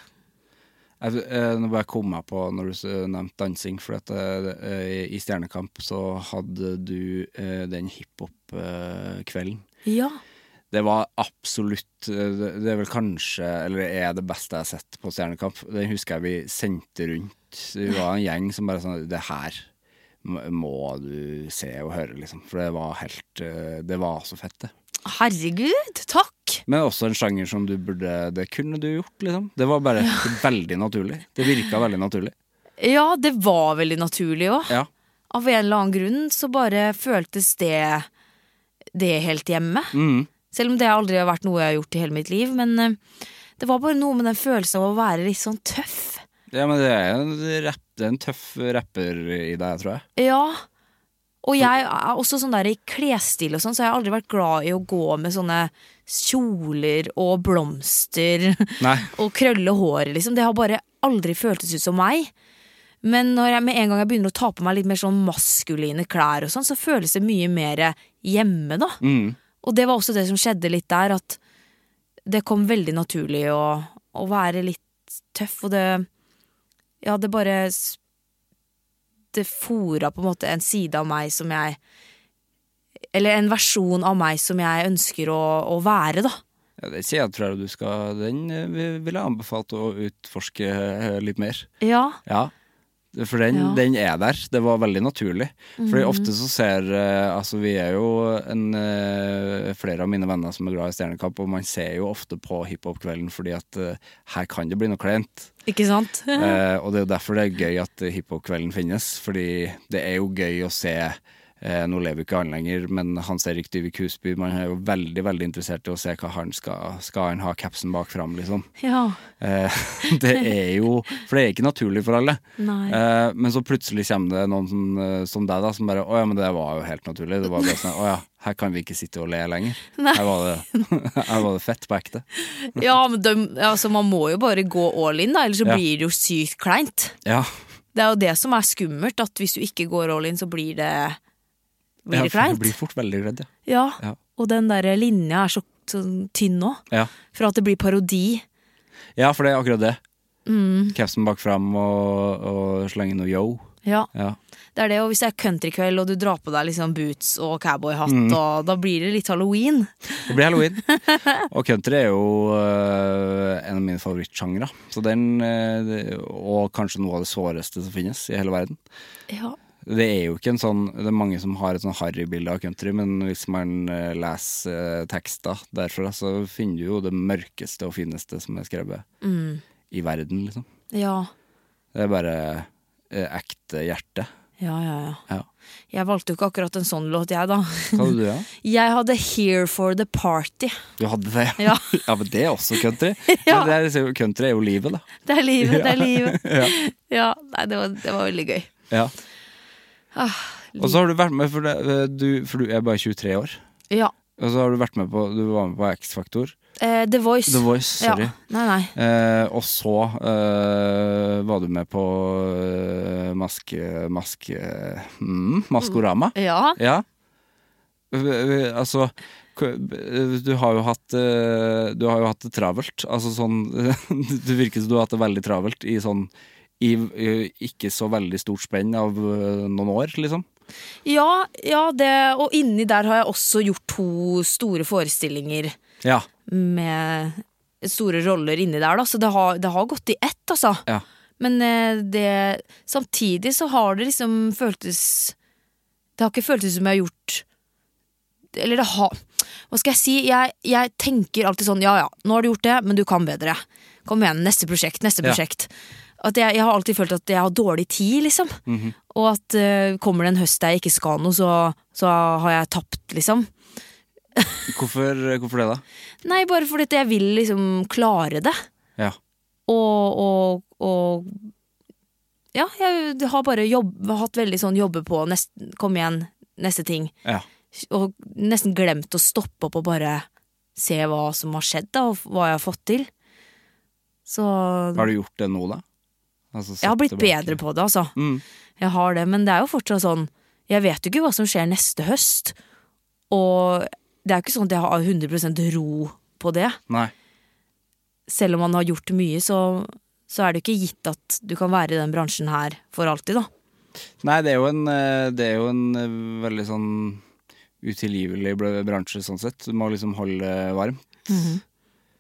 Speaker 1: Jeg, eh, nå bare kom jeg på når du s- nevnte dansing, for at, eh, i Stjernekamp så hadde du eh, den øh, hiphop-kvelden.
Speaker 2: Ja.
Speaker 1: Det var absolutt eh, Det det er vel kanskje, eller er det beste jeg har sett på Stjernekamp. Den husker jeg vi sendte rundt. Vi var en gjeng som bare sånn Det her m- må du se og høre, liksom. For det var helt eh, Det var så fett, det.
Speaker 2: Herregud, takk!
Speaker 1: Men også en sjanger som du burde Det kunne du gjort, liksom. Det var bare veldig naturlig. Det virka veldig naturlig.
Speaker 2: Ja, det var veldig naturlig òg.
Speaker 1: Ja.
Speaker 2: Av en eller annen grunn så bare føltes det det helt hjemme.
Speaker 1: Mm.
Speaker 2: Selv om det aldri har vært noe jeg har gjort i hele mitt liv. Men eh, det var bare noe med den følelsen av å være litt sånn tøff.
Speaker 1: Ja, men det er en, rapp, det er en tøff rapper i deg, tror jeg.
Speaker 2: Ja. Og jeg er også sånn der i klesstil og sånn, så jeg har aldri vært glad i å gå med sånne kjoler og blomster
Speaker 1: Nei.
Speaker 2: og krølle håret, liksom. Det har bare aldri føltes ut som meg. Men når jeg med en gang jeg begynner å ta på meg litt mer sånn maskuline klær og sånn, så føles det mye mer hjemme, da. Og det var også det som skjedde litt der, at det kom veldig naturlig å, å være litt tøff, og det Ja, det bare s- det fora på en måte en side av meg som jeg Eller en versjon av meg som jeg ønsker å, å være, da.
Speaker 1: Ja, det sier jeg tror jeg du skal Den eh, vi- vil jeg anbefale å utforske eh, litt mer.
Speaker 2: Ja.
Speaker 1: Ja. For den,
Speaker 2: Ja.
Speaker 1: den er der. Det var veldig naturlig. Fordi ofte så ser eh, Altså, vi er jo en, eh, flere av mine venner som er glad i Stjernekamp, og man ser jo ofte på hiphop-kvelden fordi at eh, her kan det bli noe kleint.
Speaker 2: Ikke sant?
Speaker 1: Eh, og det er jo derfor det er gøy at hiphop-kvelden finnes, fordi det er jo gøy å se eh, Nå lever jo ikke han lenger, men Hans Erik Dyvik Husby Man er jo veldig veldig interessert i å se hva han skal Skal han ha capsen bak fram, liksom.
Speaker 2: Ja.
Speaker 1: Eh, det er jo For det er ikke naturlig for alle.
Speaker 2: Nei.
Speaker 1: Eh, men så plutselig kommer det noen som, eh, som deg, da, som bare Å ja, men det var jo helt naturlig. Det var bare sånn Å ja, her kan vi ikke sitte og le lenger.
Speaker 2: Nei.
Speaker 1: Her var det, her var det fett på ekte.
Speaker 2: ja, men de, altså, man må jo bare gå all in, da, ellers så
Speaker 1: Ja.
Speaker 2: blir det jo sykt kleint.
Speaker 1: Ja.
Speaker 2: Det er jo det som er skummelt, at hvis du ikke går all in, så blir det
Speaker 1: Ja,
Speaker 2: Blir det
Speaker 1: for du
Speaker 2: kleint.
Speaker 1: Blir fort veldig redd, ja.
Speaker 2: Ja.
Speaker 1: Ja.
Speaker 2: Og den der linja er så sånn, tynn nå,
Speaker 1: ja.
Speaker 2: fra at det blir parodi.
Speaker 1: Ja, for det er akkurat det.
Speaker 2: Mm.
Speaker 1: Capsen bak fram og, og slenge noe yo.
Speaker 2: Ja.
Speaker 1: Ja.
Speaker 2: Det er det, og hvis det er countrykveld og du drar på deg liksom boots og cowboyhatt,
Speaker 1: Mm.
Speaker 2: og da blir det litt halloween.
Speaker 1: Det blir halloween. og country er jo øh, en av mine favorittsjangre. Så den, øh, det- og kanskje noe av det såreste som finnes i hele verden.
Speaker 2: Ja.
Speaker 1: Det er jo ikke en sånn Det er mange som har et sånn harrybilde av country, men hvis man øh, leser øh, tekster derfra, så finner du jo det mørkeste og fineste som er skrevet
Speaker 2: Mm.
Speaker 1: i verden, liksom.
Speaker 2: Ja.
Speaker 1: Det er bare øh, ekte hjerte.
Speaker 2: Ja, ja, ja.
Speaker 1: Ja.
Speaker 2: Jeg valgte jo ikke akkurat en sånn låt, jeg, da.
Speaker 1: Hva hadde du, da?
Speaker 2: Jeg hadde Here for the Party.
Speaker 1: Du hadde det?
Speaker 2: Ja.
Speaker 1: ja men det er også country.
Speaker 2: Ja.
Speaker 1: Men det er, jo- country er jo livet, da.
Speaker 2: Det er livet, det er livet. Ja, nei, det var, det var veldig gøy.
Speaker 1: Ja. Og så har du vært med, for, det, eh, du, for du er bare 23 år.
Speaker 2: Ja.
Speaker 1: Og så har du vært med på Du var med på X-Faktor.
Speaker 2: Eh, The Voice.
Speaker 1: The Voice, sorry.
Speaker 2: Ja. Nei, nei.
Speaker 1: Eh, og så eh, var du med på eh, Maske... Maske... Mm, Maskorama.
Speaker 2: Ja.
Speaker 1: Ja. V- v- Altså k- b- du har jo hatt eh, Du har jo hatt det travelt. Altså sånn Det virker som du har hatt det veldig travelt i sånn i eh, ikke så veldig stort spenn av eh, noen år, liksom.
Speaker 2: Ja, ja det, og inni der har jeg også gjort to store forestillinger
Speaker 1: Ja.
Speaker 2: med store roller inni der, da. Så det har, det har gått i ett, altså.
Speaker 1: Ja.
Speaker 2: Men eh, det, samtidig så har det liksom føltes Det har ikke føltes som jeg har gjort Eller det har Hva skal jeg si? Jeg, jeg tenker alltid sånn Ja ja, nå har du gjort det, men du kan bedre. Kom igjen, neste prosjekt, neste
Speaker 1: Ja.
Speaker 2: prosjekt. At jeg, jeg har alltid følt at jeg har dårlig tid, liksom. Og at eh, kommer det en høst der jeg ikke skal noe, så, så har jeg tapt, liksom.
Speaker 1: Hvorfor, hvorfor det, da?
Speaker 2: Nei, bare fordi at jeg vil liksom klare det.
Speaker 1: Ja.
Speaker 2: og, og, og ja, jeg har bare jobb, hatt veldig sånn jobbe på, nest, kom igjen, neste ting.
Speaker 1: ja.
Speaker 2: Og nesten glemt å stoppe opp og bare se hva som har skjedd, da, og hva jeg har fått til. Så
Speaker 1: Har du gjort det nå, da? Altså,
Speaker 2: jeg har blitt
Speaker 1: sett tilbake.
Speaker 2: bedre på det, altså.
Speaker 1: Mm.
Speaker 2: Jeg har det, men det er jo fortsatt sånn Jeg vet jo ikke hva som skjer neste høst, og det er jo ikke sånn at jeg har 100 ro på det.
Speaker 1: Nei.
Speaker 2: selv om man har gjort mye, så, så er det jo ikke gitt at du kan være i den bransjen her for alltid, da.
Speaker 1: Nei, det er jo en, eh, det er jo en eh, veldig sånn utilgivelig bl- bransje sånn sett. Du må liksom holde varm.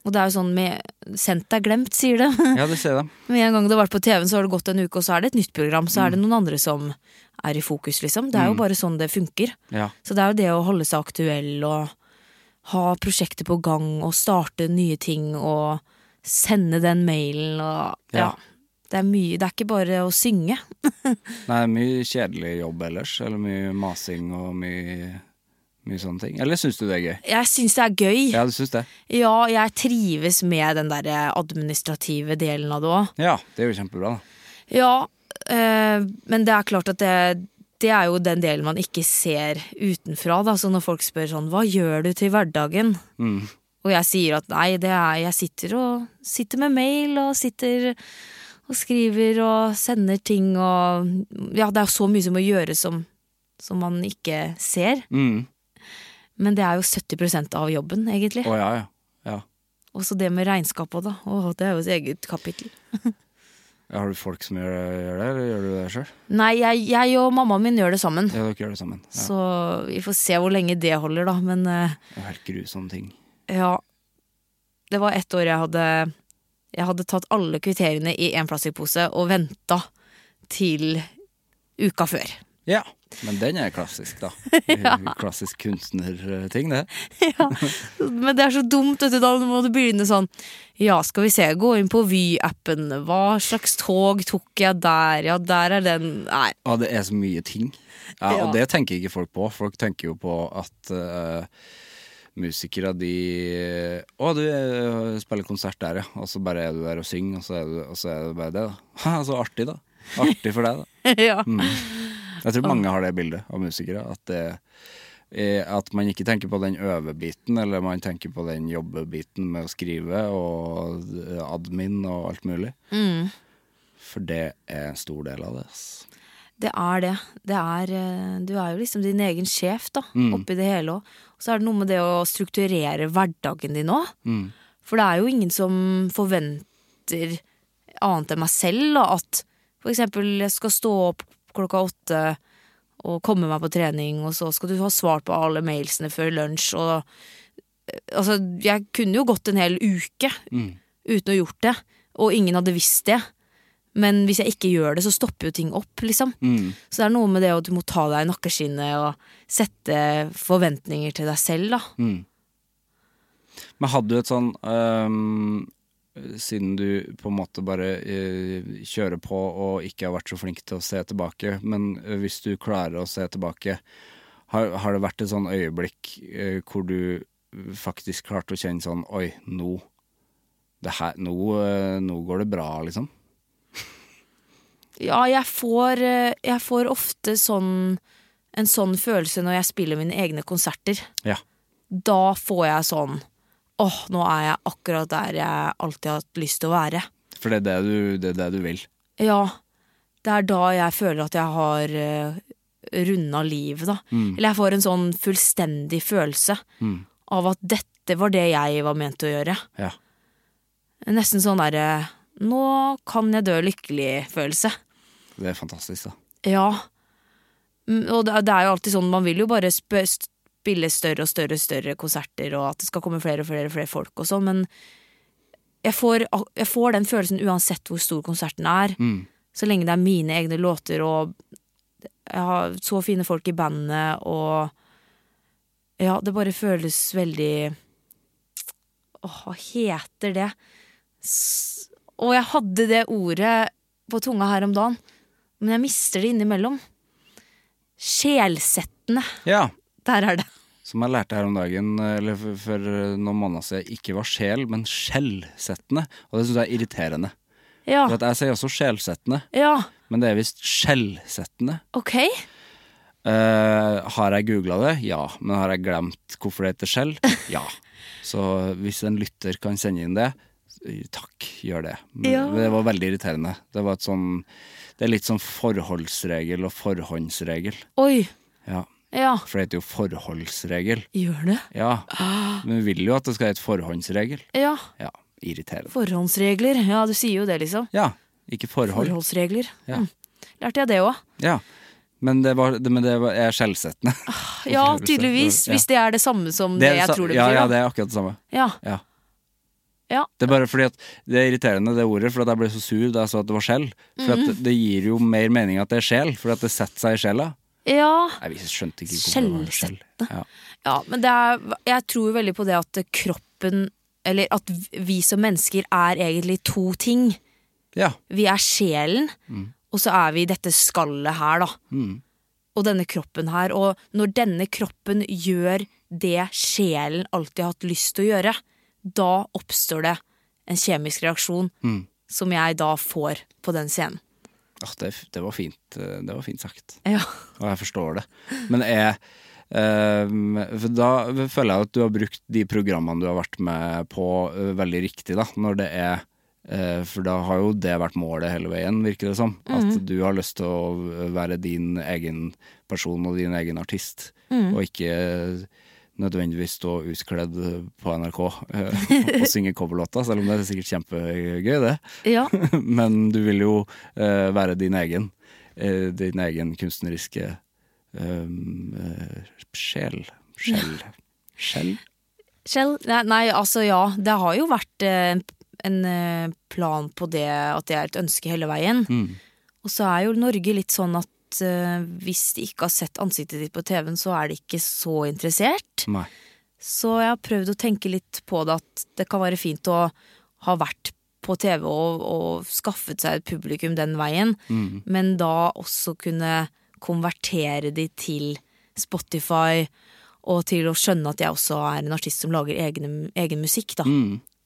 Speaker 2: Og det er jo sånn med Sendt er glemt, sier det.
Speaker 1: Ja, det ser jeg.
Speaker 2: Med en gang det har vært på TV-en, så har det gått en uke, og så er det et nytt program. Så
Speaker 1: Mm.
Speaker 2: er det noen andre som er i fokus, liksom. Det er jo bare sånn det funker.
Speaker 1: Ja.
Speaker 2: Så det er jo det å holde seg aktuell og ha prosjekter på gang og starte nye ting og sende den mailen og Ja.
Speaker 1: Ja.
Speaker 2: Det er mye. Det er ikke bare å synge.
Speaker 1: Nei, mye kjedelig jobb ellers. Eller mye masing og mye, mye sånne ting. Eller syns du det er gøy?
Speaker 2: Jeg syns det er gøy.
Speaker 1: Ja, du syns det?
Speaker 2: Ja, jeg trives med den der eh, administrative delen av det òg.
Speaker 1: Ja, det er jo kjempebra, da.
Speaker 2: Ja, eh, men det er klart at det, det er jo den delen man ikke ser utenfra. Da. Så når folk spør sånn 'hva gjør du til hverdagen', og jeg sier at nei, det er jeg sitter og sitter med mail og sitter og skriver og sender ting og Ja, det er jo så mye som må gjøres som, som man ikke ser.
Speaker 1: Mm.
Speaker 2: Men det er jo 70 av jobben, egentlig.
Speaker 1: Å ja, ja. ja.
Speaker 2: Og så det med regnskap òg, da. Åh, det er jo et eget kapittel.
Speaker 1: Har du folk som gjør, gjør det, eller gjør du det sjøl?
Speaker 2: Nei, jeg, jeg og mammaen min gjør det sammen.
Speaker 1: Ja, dere gjør det sammen. Ja.
Speaker 2: Så vi får se hvor lenge det holder, da. Men eh,
Speaker 1: Det er helt grusomme ting.
Speaker 2: ja. Det var ett år jeg hadde Jeg hadde tatt alle kvitteriene i én plastikkpose og venta til uka før.
Speaker 1: Ja. Men den er klassisk, da. Klassisk kunstnerting, det.
Speaker 2: Men det er så dumt, vet du. Da må du begynne sånn Ja, skal vi se. Gå inn på Vy-appen. Hva slags tog tok jeg der? Ja, der er den. Nei.
Speaker 1: Ja, det er så mye ting. Ja,
Speaker 2: Ja.
Speaker 1: Og det tenker ikke folk på. Folk tenker jo på at eh, musikere, de Å, du eh, spiller konsert der, ja. Og så bare er du der og synger, og så er, du, og så er det bare det, da. Ha, så altså, artig, da. Artig for deg, da.
Speaker 2: ja.
Speaker 1: Jeg tror mange har det bildet av musikere. At, det, eh, at man ikke tenker på den øvebiten, eller man tenker på den jobbebiten med å skrive og eh, admin og alt mulig. For det er en stor del av det. ass.
Speaker 2: Det er det. det er, eh, du er jo liksom din egen sjef da, oppi det hele òg. Og så er det noe med det å strukturere hverdagen din òg. For det er jo ingen som forventer annet enn meg selv da, at for eksempel jeg skal stå opp klokka åtte og komme meg på trening, og så skal du ha svart på alle mailsene før lunsj og eh, Altså, jeg kunne jo gått en hel uke uten å ha gjort det, og ingen hadde visst det. Men hvis jeg ikke gjør det, så stopper jo ting opp, liksom. Så det er noe med det at du må ta deg i nakkeskinnet og sette forventninger til deg selv, da.
Speaker 1: Men hadde du et sånn øhm, Siden du på en måte bare øh, kjører på og ikke har vært så flink til å se tilbake, men øh, hvis du klarer å se tilbake, har, har det vært et sånn øyeblikk øh, hvor du faktisk klarte å kjenne sånn Oi, nå det her, nå, øh, nå går det bra, liksom.
Speaker 2: Ja, jeg får, eh, jeg får ofte sånn en sånn følelse når jeg spiller mine egne konserter.
Speaker 1: Ja.
Speaker 2: Da får jeg sånn Åh, nå er jeg akkurat der jeg alltid har hatt lyst til å være.
Speaker 1: For det er det du, det er det du vil.
Speaker 2: Ja, det er da jeg føler at jeg har uh, runda livet, da. Eller jeg får en sånn fullstendig følelse av at dette var det jeg var ment å gjøre.
Speaker 1: Ja.
Speaker 2: Nesten sånn derre Nå kan jeg dø lykkelig-følelse.
Speaker 1: Det er fantastisk, da.
Speaker 2: Ja. Mm, Og det det er jo alltid sånn, man vil jo bare sp spille større og større og større konserter, og at det skal komme flere og flere, og flere folk og sånn, men jeg får, ak- jeg får den følelsen uansett hvor stor konserten er, så lenge det er mine egne låter, og jeg har så fine folk i bandet, og ja, det bare føles veldig Åh, hva heter det? S og jeg hadde det ordet på tunga her om dagen men jeg mister det innimellom. Sjelsettende.
Speaker 1: Ja.
Speaker 2: Der er det.
Speaker 1: Som jeg lærte her om dagen, eh, eller for, for noen måneder siden, ikke var sjel, men skjellsettende. Og det syns jeg er irriterende.
Speaker 2: Ja.
Speaker 1: For at jeg sier også sjelsettende,
Speaker 2: ja.
Speaker 1: men det er visst skjellsettende.
Speaker 2: Ok.
Speaker 1: Eh, har jeg googla det? Ja. Men har jeg glemt hvorfor det heter skjell? Ja. Så hvis en lytter kan sende inn det, eh, takk, gjør det. Men
Speaker 2: Ja.
Speaker 1: Det var veldig irriterende. Det var et sånn Det er litt sånn forholdsregel og forhåndsregel.
Speaker 2: Oi.
Speaker 1: Ja.
Speaker 2: Ja.
Speaker 1: For det heter jo forholdsregel.
Speaker 2: Gjør det?
Speaker 1: Ja.
Speaker 2: Ah.
Speaker 1: Men vi vil jo at det skal hete forhåndsregel.
Speaker 2: Ja.
Speaker 1: Ja. Irriterende.
Speaker 2: Forhåndsregler. Ja, du sier jo det, liksom.
Speaker 1: Ja. Ikke forhold.
Speaker 2: Forholdsregler.
Speaker 1: Ja.
Speaker 2: Mm. Lærte jeg det òg?
Speaker 1: Ja. Men det, var, det, men det var, er skjellsettende.
Speaker 2: Ja, tydeligvis.
Speaker 1: Ja.
Speaker 2: Hvis det er det samme som Ah, det,
Speaker 1: er
Speaker 2: jeg
Speaker 1: sa-
Speaker 2: tror det
Speaker 1: ja,
Speaker 2: betyr.
Speaker 1: ja,
Speaker 2: da.
Speaker 1: det er akkurat det samme.
Speaker 2: ja.
Speaker 1: Ja.
Speaker 2: Ja.
Speaker 1: Det er bare fordi at det er irriterende det ordet, for at jeg ble så sur da jeg så at det var skjell. For at
Speaker 2: Mhm.
Speaker 1: det gir jo mer mening at det er sjel, for at det setter seg i sjela.
Speaker 2: ja.
Speaker 1: Nei, vi skjønte ikke hvorfor det var skjell. Ja.
Speaker 2: Ja, men det er, jeg tror veldig på det at kroppen Eller at vi som mennesker er egentlig to ting.
Speaker 1: ja.
Speaker 2: Vi er sjelen, og så er vi i dette skallet her, da. Og denne kroppen her. Og når denne kroppen gjør det sjelen alltid har hatt lyst til å gjøre, da oppstår det en kjemisk reaksjon som jeg da får på den scenen.
Speaker 1: Åh, det, det, var fint, eh, det var fint sagt.
Speaker 2: Ja.
Speaker 1: Og jeg forstår det. Men jeg ehm, for Da føler jeg at du har brukt de programmene du har vært med på, eh, veldig riktig, da. Når det er eh, For da har jo det vært målet hele veien, virker det som. At du har lyst til å være din egen person og din egen artist, og ikke nødvendigvis stå utkledd på NRK eh, og synge coverlåter, selv om det er sikkert kjempegøy, det.
Speaker 2: ja.
Speaker 1: Men du vil jo eh, være din egen eh, Din egen kunstneriske um, eh, sjel Sjel Sjel?
Speaker 2: Kjell? Nei, nei, altså ja. Det har jo vært eh, en, en eh, plan på det at det er et ønske hele veien. Og så er jo Norge litt sånn at eh, hvis de ikke har sett ansiktet ditt på TV-en, så er de ikke så interessert.
Speaker 1: Nei.
Speaker 2: Så jeg har prøvd å tenke litt på det at det kan være fint å ha vært på TV og, og skaffet seg et publikum den veien, men da også kunne konvertere de til Spotify og til å skjønne at jeg også er en artist som lager egne, egen musikk, da.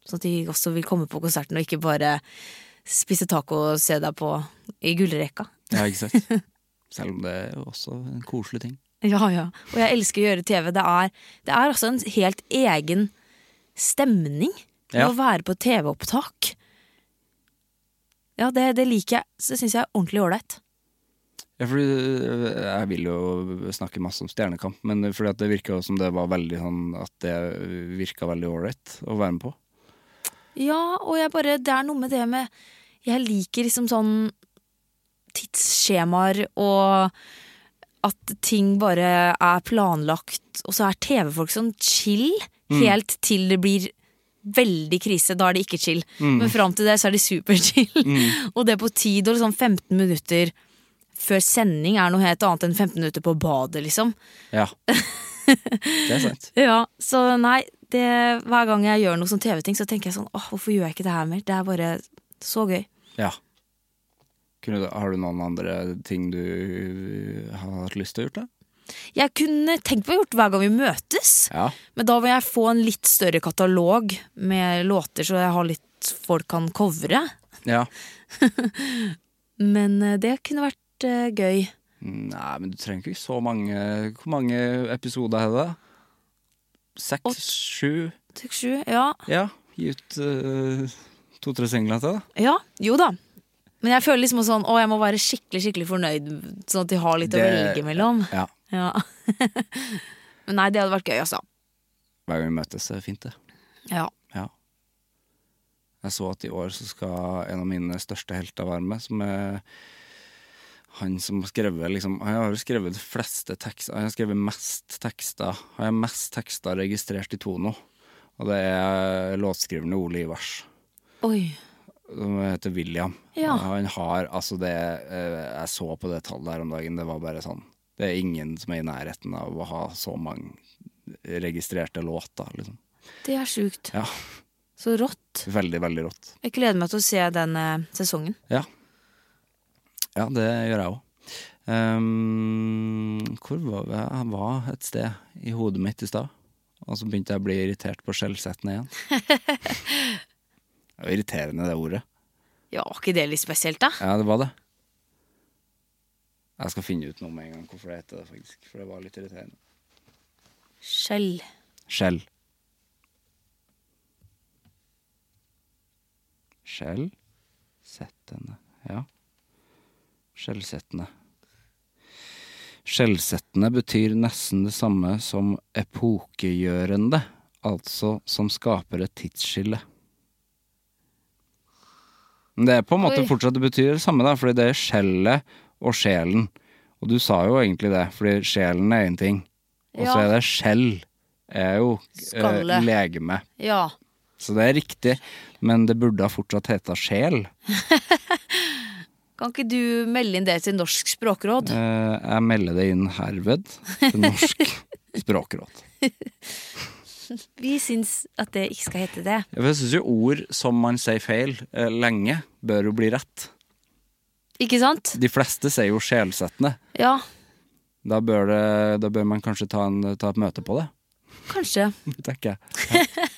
Speaker 2: Så at de også vil komme på konserten og ikke bare spise taco og se deg på i gullrekka.
Speaker 1: Ja, ikke sant? Selv om det er jo også en koselig ting.
Speaker 2: Ja, ja. Og jeg elsker å gjøre TV. Det er, det er altså en helt egen stemning med
Speaker 1: Ja.
Speaker 2: å være på TV-opptak. Ja, det, det liker jeg. Så syns jeg er ordentlig ålreit.
Speaker 1: Ja, fordi øh, Jeg vil jo snakke masse om Stjernekamp, men fordi at det virka som det var veldig sånn At det virka veldig ålreit å være med på.
Speaker 2: Ja, og jeg bare Det er noe med det med Jeg liker liksom sånn tidsskjemaer og at ting bare er planlagt, og så er TV-folk sånn chill helt til det blir veldig krise. Da er det ikke chill. Men fram til det så er de superchill. og det på tid og liksom 15 minutter før sending er noe helt annet enn 15 minutter på badet, liksom.
Speaker 1: Ja. Det er sant.
Speaker 2: Ja, så nei det, Hver gang jeg gjør noe sånn TV-ting Så tenker jeg sånn, åh, hvorfor gjør jeg ikke det her mer? Det er bare så gøy
Speaker 1: Ja. Kunne du, har du noen andre ting du øh, har hatt lyst til å gjøre? da?
Speaker 2: Jeg kunne tenkt på å gjort hver gang vi møtes
Speaker 1: Ja.
Speaker 2: Men da må jeg få en litt større katalog Med låter så jeg har litt folk kan covre
Speaker 1: ja.
Speaker 2: Men eh, det kunne vært eh, gøy
Speaker 1: Nei, men du trenger ikke så mange Hvor mange episoder er det? Seks? Sju?
Speaker 2: Seks, sju, ja.
Speaker 1: Ja. Gi ut eh, to-tre singler til, da.
Speaker 2: ja. Jo da. Men jeg føler liksom også sånn å, jeg må være skikkelig skikkelig fornøyd, sånn at de har litt å
Speaker 1: Det-
Speaker 2: velge mellom.
Speaker 1: Ja.
Speaker 2: Ja. Men nei, det hadde vært gøy, altså.
Speaker 1: Hver gang vi møtes, er det fint, det.
Speaker 2: Ja.
Speaker 1: Ja. Jeg så at i år så skal en av mine største helter være med, som er han som har skrevet liksom, Han har jo skrevet de fleste tekster Han har skrevet mest tekster. Han har mest tekster registrert i Tono. Og det er låtskrivende Ole Ivars,
Speaker 2: Oi.
Speaker 1: som heter William.
Speaker 2: Ja.
Speaker 1: Han har altså det eh, Jeg så på det tallet her om dagen, det var bare sånn Det er ingen som er i nærheten av å ha så mange registrerte låter, liksom.
Speaker 2: Det er sjukt.
Speaker 1: Ja.
Speaker 2: Så rått.
Speaker 1: Veldig, veldig rått.
Speaker 2: Jeg gleder meg til å se den eh, sesongen.
Speaker 1: Ja. Ja, det gjør jeg òg. Ehm, hvor var jeg? Jeg var et sted i hodet mitt i stad, og så begynte jeg å bli irritert på skjellsettene igjen. det var irriterende, det ordet.
Speaker 2: Ja, var ikke det litt spesielt, da?
Speaker 1: Ja, det var det. Jeg skal finne ut noe med en gang hvorfor det heter det, faktisk. For det var litt irriterende.
Speaker 2: Skjell.
Speaker 1: Skjell. Skjellsettende. Ja. Skjellsettende. Skjellsettende betyr nesten det samme som epokegjørende, altså som skaper et tidsskille. Men det er på en måte
Speaker 2: Oi.
Speaker 1: fortsatt det betyr det samme, da, fordi det er skjellet og sjelen. Og du sa jo egentlig det, fordi sjelen er én ting, og så
Speaker 2: Ja.
Speaker 1: er det skjell er jo eh,
Speaker 2: Skalle.
Speaker 1: legeme.
Speaker 2: Ja.
Speaker 1: Så det er riktig, men det burde ha fortsatt heta sjel.
Speaker 2: Kan ikke du melde inn det til Norsk språkråd?
Speaker 1: Eh, jeg melder det inn herved til Norsk språkråd.
Speaker 2: Vi syns at det ikke skal hete det.
Speaker 1: Ja, for Jeg syns jo ord som man sier feil eh, lenge, bør jo bli rett.
Speaker 2: Ikke sant?
Speaker 1: De fleste sier jo sjelsettende.
Speaker 2: Ja,
Speaker 1: Da bør, det, da bør man kanskje ta, en, ta et møte på det,
Speaker 2: kanskje.
Speaker 1: tenker jeg. Ja.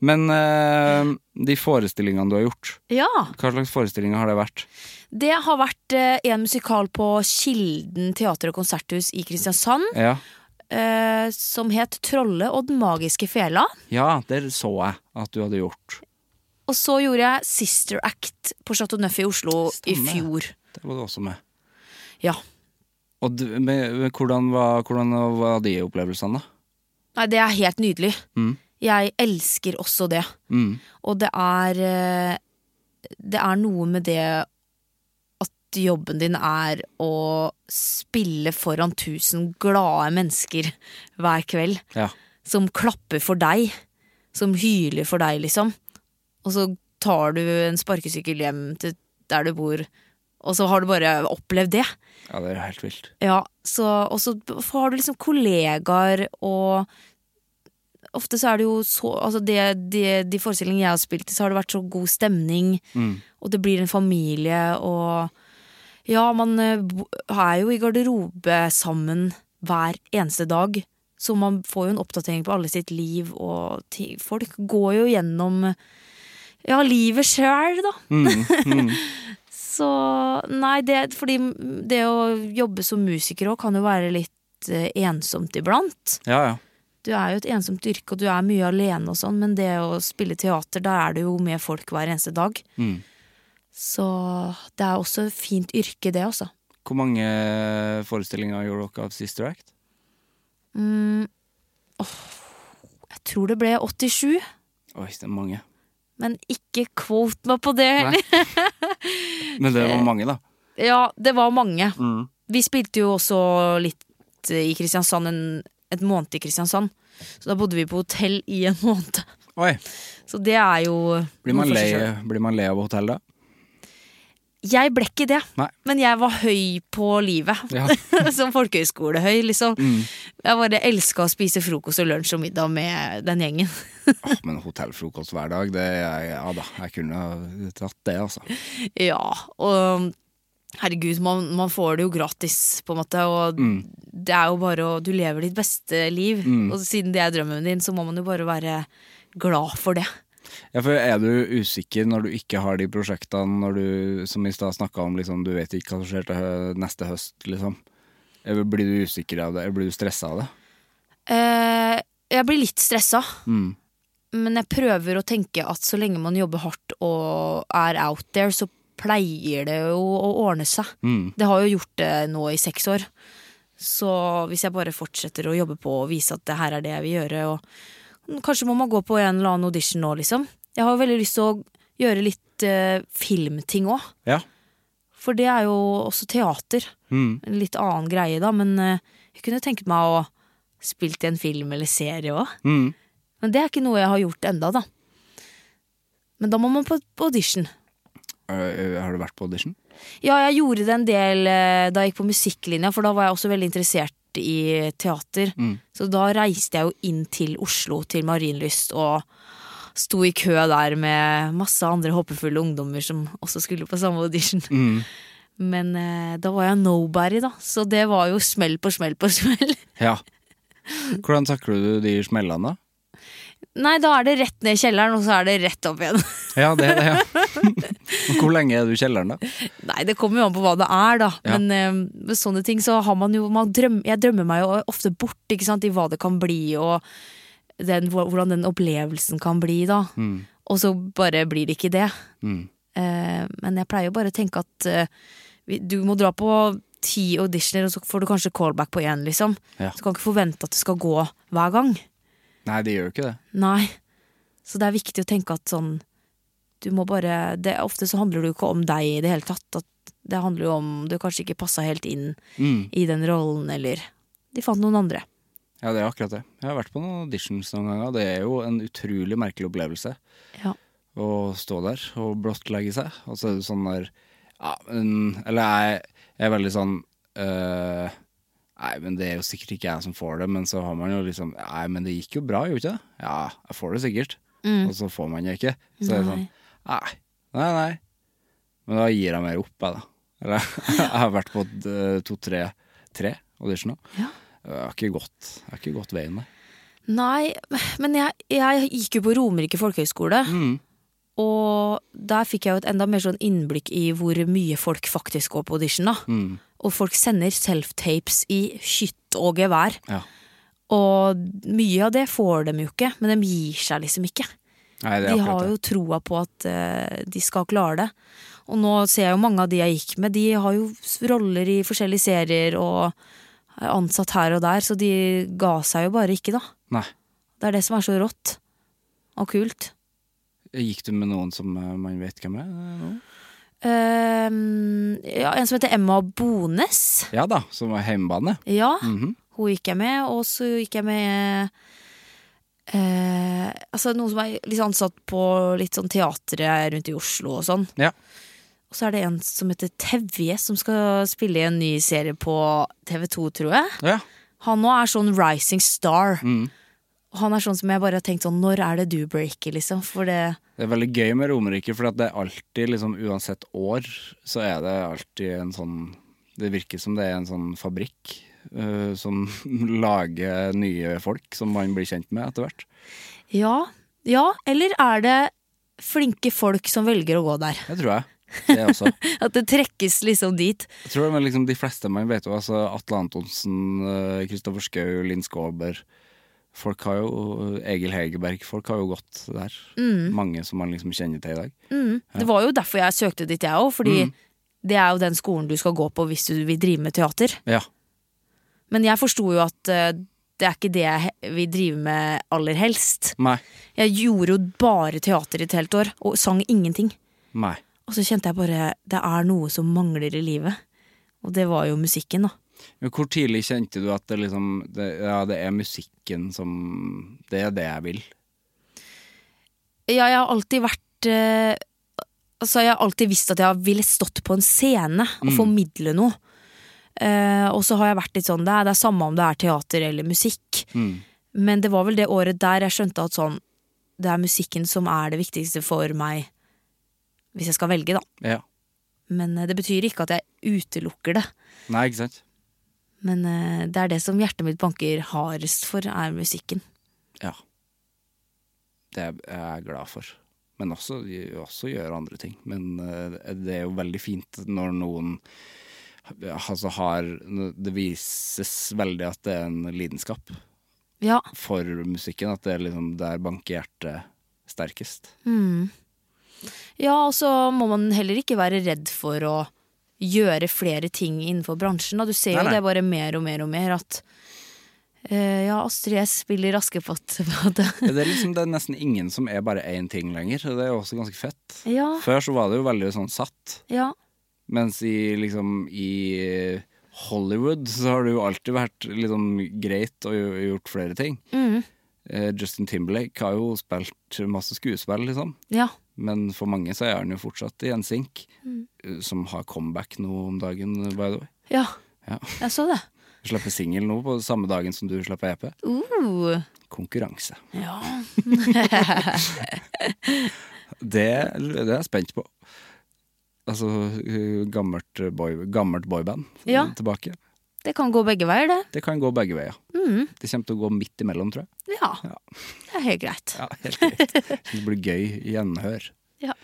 Speaker 1: Men eh, de forestillingene du har gjort,
Speaker 2: Ja.
Speaker 1: hva slags forestillinger har det vært?
Speaker 2: Det har vært eh, en musikal på Kilden teater og konserthus i Kristiansand
Speaker 1: Ja,
Speaker 2: eh, som het Trolle og den magiske fela.
Speaker 1: ja der så jeg at du hadde gjort.
Speaker 2: Og så gjorde jeg Sister Act på Chateau Neuf i Oslo
Speaker 1: Stemmer.
Speaker 2: i fjor.
Speaker 1: Det var du også med.
Speaker 2: Ja.
Speaker 1: Og du, men, men hvordan, var, hvordan var de opplevelsene, da?
Speaker 2: Nei, det er helt nydelig.
Speaker 1: Mm.
Speaker 2: Jeg elsker også det.
Speaker 1: Mm.
Speaker 2: Og det er eh, Det er noe med det at jobben din er å spille foran tusen glade mennesker hver kveld.
Speaker 1: Ja.
Speaker 2: Som klapper for deg. Som hyler for deg, liksom. Og så tar du en sparkesykkel hjem til der du bor, og så har du bare opplevd det.
Speaker 1: ja, det er jo helt vilt.
Speaker 2: Ja, så, og så har du liksom kollegaer og Ofte så er det jo så altså det, det, De forestillingene jeg har spilt i, så har det vært så god stemning. Og det blir en familie, og Ja, man eh, bo- er jo i garderobe sammen hver eneste dag. Så man får jo en oppdatering på alle sitt liv, og ti- folk går jo gjennom Ja, livet sjøl, da. Så nei, det, fordi det å jobbe som musiker òg kan jo være litt eh, ensomt iblant.
Speaker 1: Ja, ja.
Speaker 2: Du er jo et ensomt yrke, og du er mye alene og sånn, men det å spille teater, da er du jo med folk hver eneste dag.
Speaker 1: Mm.
Speaker 2: Så det er også et fint yrke, det også.
Speaker 1: Hvor mange eh, forestillinger gjorde dere av Sister Act?
Speaker 2: Jeg tror det ble 87,
Speaker 1: Oi, det er mange.
Speaker 2: men ikke quote meg på det
Speaker 1: Nei.
Speaker 2: heller.
Speaker 1: Men det var mange, da.
Speaker 2: Ja, det var mange.
Speaker 1: Mm.
Speaker 2: Vi spilte jo også litt eh, i Kristiansand, en, et måned i Kristiansand. Så da bodde vi på hotell i en måned.
Speaker 1: Oi.
Speaker 2: Så det er jo
Speaker 1: Blir man,
Speaker 2: noe for
Speaker 1: lei,
Speaker 2: seg selv.
Speaker 1: blir man lei av hotell, da?
Speaker 2: Jeg ble ikke det,
Speaker 1: Nei.
Speaker 2: men jeg var høy på livet.
Speaker 1: Ja. Mm.
Speaker 2: Som folkehøyskolehøy, liksom. Jeg bare elska å spise frokost og lunsj og middag med den gjengen.
Speaker 1: Åh, men hotellfrokost hver dag, det Ja da, jeg kunne ha tatt det, altså.
Speaker 2: ja, og herregud, man, man får det jo gratis, på en måte. Og
Speaker 1: Mm.
Speaker 2: det er jo bare å Du lever ditt beste liv, og siden det er drømmen din, så må man jo bare være glad for det.
Speaker 1: Ja, for er du usikker når du ikke har de prosjektene når du, som i stad snakka om, liksom, du vet ikke hva som skjer til hø- neste høst, liksom? Eller Blir du usikker av det? Eller Blir du stressa av det?
Speaker 2: Eh, jeg blir litt stressa,
Speaker 1: Mm.
Speaker 2: men jeg prøver å tenke at så lenge man jobber hardt og er out there, så pleier det jo å ordne seg.
Speaker 1: Mm.
Speaker 2: Det har jo gjort det nå i seks år. Så hvis jeg bare fortsetter å jobbe på og vise at det her er det jeg vil gjøre, og kanskje må man gå på en eller annen audition nå, liksom. Jeg har jo veldig lyst til å gjøre litt eh, filmting òg,
Speaker 1: Ja.
Speaker 2: for det er jo også teater.
Speaker 1: Mm.
Speaker 2: En litt annen greie, da, men eh, jeg kunne tenkt meg å spilt i en film eller serie òg.
Speaker 1: Mm.
Speaker 2: Men det er ikke noe jeg har gjort enda da. Men da må man på på audition.
Speaker 1: Ø, ø, Eh, Har du vært på audition?
Speaker 2: Ja, jeg gjorde det en del eh, da jeg gikk på musikklinja, for da var jeg også veldig interessert i teater. Så da reiste jeg jo inn til Oslo, til Marienlyst, og sto i kø der med masse andre håpefulle ungdommer som også skulle på samme audition. Men eh, da var jeg nobody, da, så det var jo smell på smell på smell.
Speaker 1: Ja. Hvordan takler du de smellene, da?
Speaker 2: Nei, da er det rett ned i kjelleren, og så er det rett opp igjen.
Speaker 1: Ja, det er det, ja. Hvor lenge er du i kjelleren, da?
Speaker 2: Nei, det kommer jo an på hva det er, da.
Speaker 1: Ja.
Speaker 2: Men eh, med sånne ting så har man jo man drøm, Jeg drømmer meg jo ofte bort ikke sant, i hva det kan bli, og den, hvor- hvordan den opplevelsen kan bli, da. Og så bare blir det ikke det.
Speaker 1: Mm.
Speaker 2: Eh, men jeg pleier jo bare å tenke at eh, vi- du må dra på ti auditioner, og så får du kanskje callback på én, liksom.
Speaker 1: Ja.
Speaker 2: Så du kan ikke forvente at det skal gå hver gang.
Speaker 1: Nei, det gjør jo ikke det.
Speaker 2: Nei. Så det er viktig å tenke at sånn Du må bare det, Ofte så handler det jo ikke om deg i det hele tatt. At det handler jo om du kanskje ikke passa helt inn
Speaker 1: Mm.
Speaker 2: i den rollen, eller de fant noen andre.
Speaker 1: Ja, det er akkurat det. Jeg har vært på noen auditions noen ganger. og Det er jo en utrolig merkelig opplevelse.
Speaker 2: Ja.
Speaker 1: å stå der og blottlegge seg. Og så er det sånn der ja, men, Eller jeg, jeg er veldig sånn øh, Nei, men det er jo sikkert ikke jeg som får det, men så har man jo liksom Nei, men det gikk jo bra, gjorde ikke det? Ja, jeg får det sikkert.
Speaker 2: Mm.
Speaker 1: Og så får man det ikke. Så er det sånn Nei, nei, nei. Men da gir jeg mer opp, jeg, da. Eller jeg har vært på eh, to-tre tre auditioner.
Speaker 2: Ja.
Speaker 1: Jeg har ikke gått, jeg har ikke gått veien der.
Speaker 2: Nei, men jeg, jeg gikk jo på Romerike folkehøgskole. Og der fikk jeg jo et enda mer sånn innblikk i hvor mye folk faktisk går på audition. da. Og folk sender self-tapes i skytt og gevær.
Speaker 1: Ja.
Speaker 2: Og mye av det får dem jo ikke, men de gir seg liksom ikke.
Speaker 1: Nei, det er
Speaker 2: De
Speaker 1: akkurat
Speaker 2: har
Speaker 1: det.
Speaker 2: jo troa på at eh, de skal klare det. Og nå ser jeg jo mange av de jeg gikk med, de har jo s- roller i forskjellige serier og er ansatt her og der, så de ga seg jo bare ikke, da.
Speaker 1: Nei.
Speaker 2: Det er det som er så rått og kult.
Speaker 1: Gikk du med noen som eh, man vet hvem er? eh, nå?
Speaker 2: Eh, ja, en som heter Emma Bones.
Speaker 1: Ja da, som var hjemmebane.
Speaker 2: Ja,
Speaker 1: Mhm.
Speaker 2: hun gikk jeg med, og så gikk jeg med eh, altså noen som er litt ansatt på litt sånn teatret rundt i Oslo og sånn.
Speaker 1: Ja.
Speaker 2: Og så er det en som heter Tevje, som skal spille i en ny serie på TV2, tror jeg.
Speaker 1: ja.
Speaker 2: Han nå er sånn rising star. Og han er sånn som jeg bare har tenkt sånn, når er det du breaker, liksom? For det
Speaker 1: Det er veldig gøy med Romerike, for at det er alltid, liksom, uansett år, så er det alltid en sånn Det virker som det er en sånn fabrikk eh, som lager nye folk som man blir kjent med etter hvert.
Speaker 2: Ja. Ja, eller er det flinke folk som velger å gå der?
Speaker 1: Det tror jeg. Det også.
Speaker 2: At det trekkes liksom dit.
Speaker 1: Jeg tror det er liksom de fleste man vet jo, altså Atle Antonsen, eh, Kristoffer Schou, Linn Skåber Folk har jo Egil Hegerberg, folk har jo gått der. Mange som man liksom kjenner til i dag.
Speaker 2: Det var jo derfor jeg søkte dit, jeg òg. Fordi det er jo den skolen du skal gå på hvis du vil drive med teater.
Speaker 1: Ja.
Speaker 2: Men jeg forsto jo at eh, det er ikke det jeg he- vil drive med aller helst.
Speaker 1: Nei.
Speaker 2: Jeg gjorde jo bare teater i et helt år, og sang ingenting.
Speaker 1: Nei.
Speaker 2: Og så kjente jeg bare det er noe som mangler i livet. Og det var jo musikken, da.
Speaker 1: Men hvor tidlig kjente du at det liksom det, Ja, det er musikken som Det er det jeg vil.
Speaker 2: Ja, jeg har alltid vært eh, Altså, jeg har alltid visst at jeg ville stått på en scene og formidle noe. Eh, og så har jeg vært litt sånn det er, det er samme om det er teater eller musikk. Men det var vel det året der jeg skjønte at sånn Det er musikken som er det viktigste for meg, hvis jeg skal velge, da.
Speaker 1: Ja.
Speaker 2: Men eh, det betyr ikke at jeg utelukker det.
Speaker 1: Nei, ikke sant?
Speaker 2: Men eh, det er det som hjertet mitt banker hardest for, er musikken.
Speaker 1: Ja. det er jeg glad for. Men også, også gjøre andre ting. Men eh, det er jo veldig fint når noen altså har Det vises veldig at det er en lidenskap
Speaker 2: Ja.
Speaker 1: for musikken. At det er liksom der banker hjertet sterkest.
Speaker 2: ja, og så må man heller ikke være redd for å gjøre flere ting innenfor bransjen. Da. Du ser jo
Speaker 1: Nei, nei.
Speaker 2: det bare mer og mer og mer at eh, ja, Astrid S spiller Askepott. på en måte.
Speaker 1: Det er, liksom, det er nesten ingen som er bare én ting lenger, og det er jo også ganske fett.
Speaker 2: ja,
Speaker 1: Før så var det jo veldig sånn satt,
Speaker 2: ja.
Speaker 1: mens i liksom i Hollywood så har det jo alltid vært liksom greit og gj- gjort flere ting.
Speaker 2: Mm.
Speaker 1: Eh, Justin Timberlake har jo spilt masse skuespill, liksom.
Speaker 2: ja.
Speaker 1: Men for mange så er han jo fortsatt i en sink,
Speaker 2: Mm.
Speaker 1: eh, som har comeback nå om dagen, by the way.
Speaker 2: Ja,
Speaker 1: Ja.
Speaker 2: jeg så det.
Speaker 1: Slipper singel nå på samme dagen som du slipper EP.
Speaker 2: Uh,
Speaker 1: Konkurranse.
Speaker 2: ja.
Speaker 1: Det, det er jeg spent på. Altså uh, gammelt, boy, gammelt boyband
Speaker 2: Ja.
Speaker 1: uh, tilbake.
Speaker 2: Det kan gå begge veier, det.
Speaker 1: Det kan gå begge veier. Det kommer til å gå midt imellom, tror jeg.
Speaker 2: Ja. Det er helt greit.
Speaker 1: Ja, helt greit. Det blir gøy gjenhør.
Speaker 2: Ja.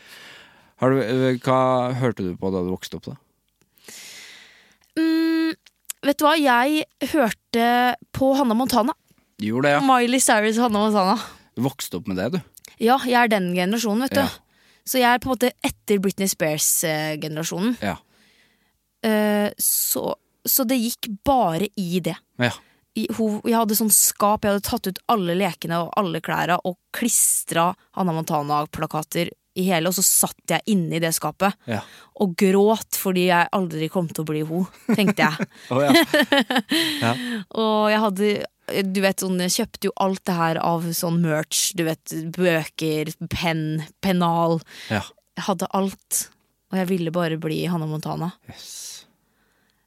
Speaker 1: Har du, uh, hva hørte du på da du vokste opp, da?
Speaker 2: Mm, vet du hva, jeg hørte på Hanna Montana.
Speaker 1: Gjorde det, ja.
Speaker 2: Miley Cyrus og Hanna Montana.
Speaker 1: Du vokste opp med det, du.
Speaker 2: Ja, jeg er den generasjonen, vet du.
Speaker 1: Ja.
Speaker 2: Så jeg er på en måte etter Britney Spears-generasjonen. Eh,
Speaker 1: Ja.
Speaker 2: så, så det gikk bare i det.
Speaker 1: ja.
Speaker 2: I, hun, jeg hadde sånn skap, jeg hadde tatt ut alle lekene og alle klærne og klistra Hanna Montana-plakater i hele, og så satt jeg inne i det skapet.
Speaker 1: Ja.
Speaker 2: Og gråt fordi jeg aldri kom til å bli hun, tenkte jeg.
Speaker 1: Å, ja.
Speaker 2: Og jeg hadde du vet, sånn, jeg kjøpte jo alt det her av sånn merch. Du vet, bøker, penn, pennal.
Speaker 1: ja.
Speaker 2: Jeg hadde alt. Og jeg ville bare bli Hanna Montana.
Speaker 1: Yes.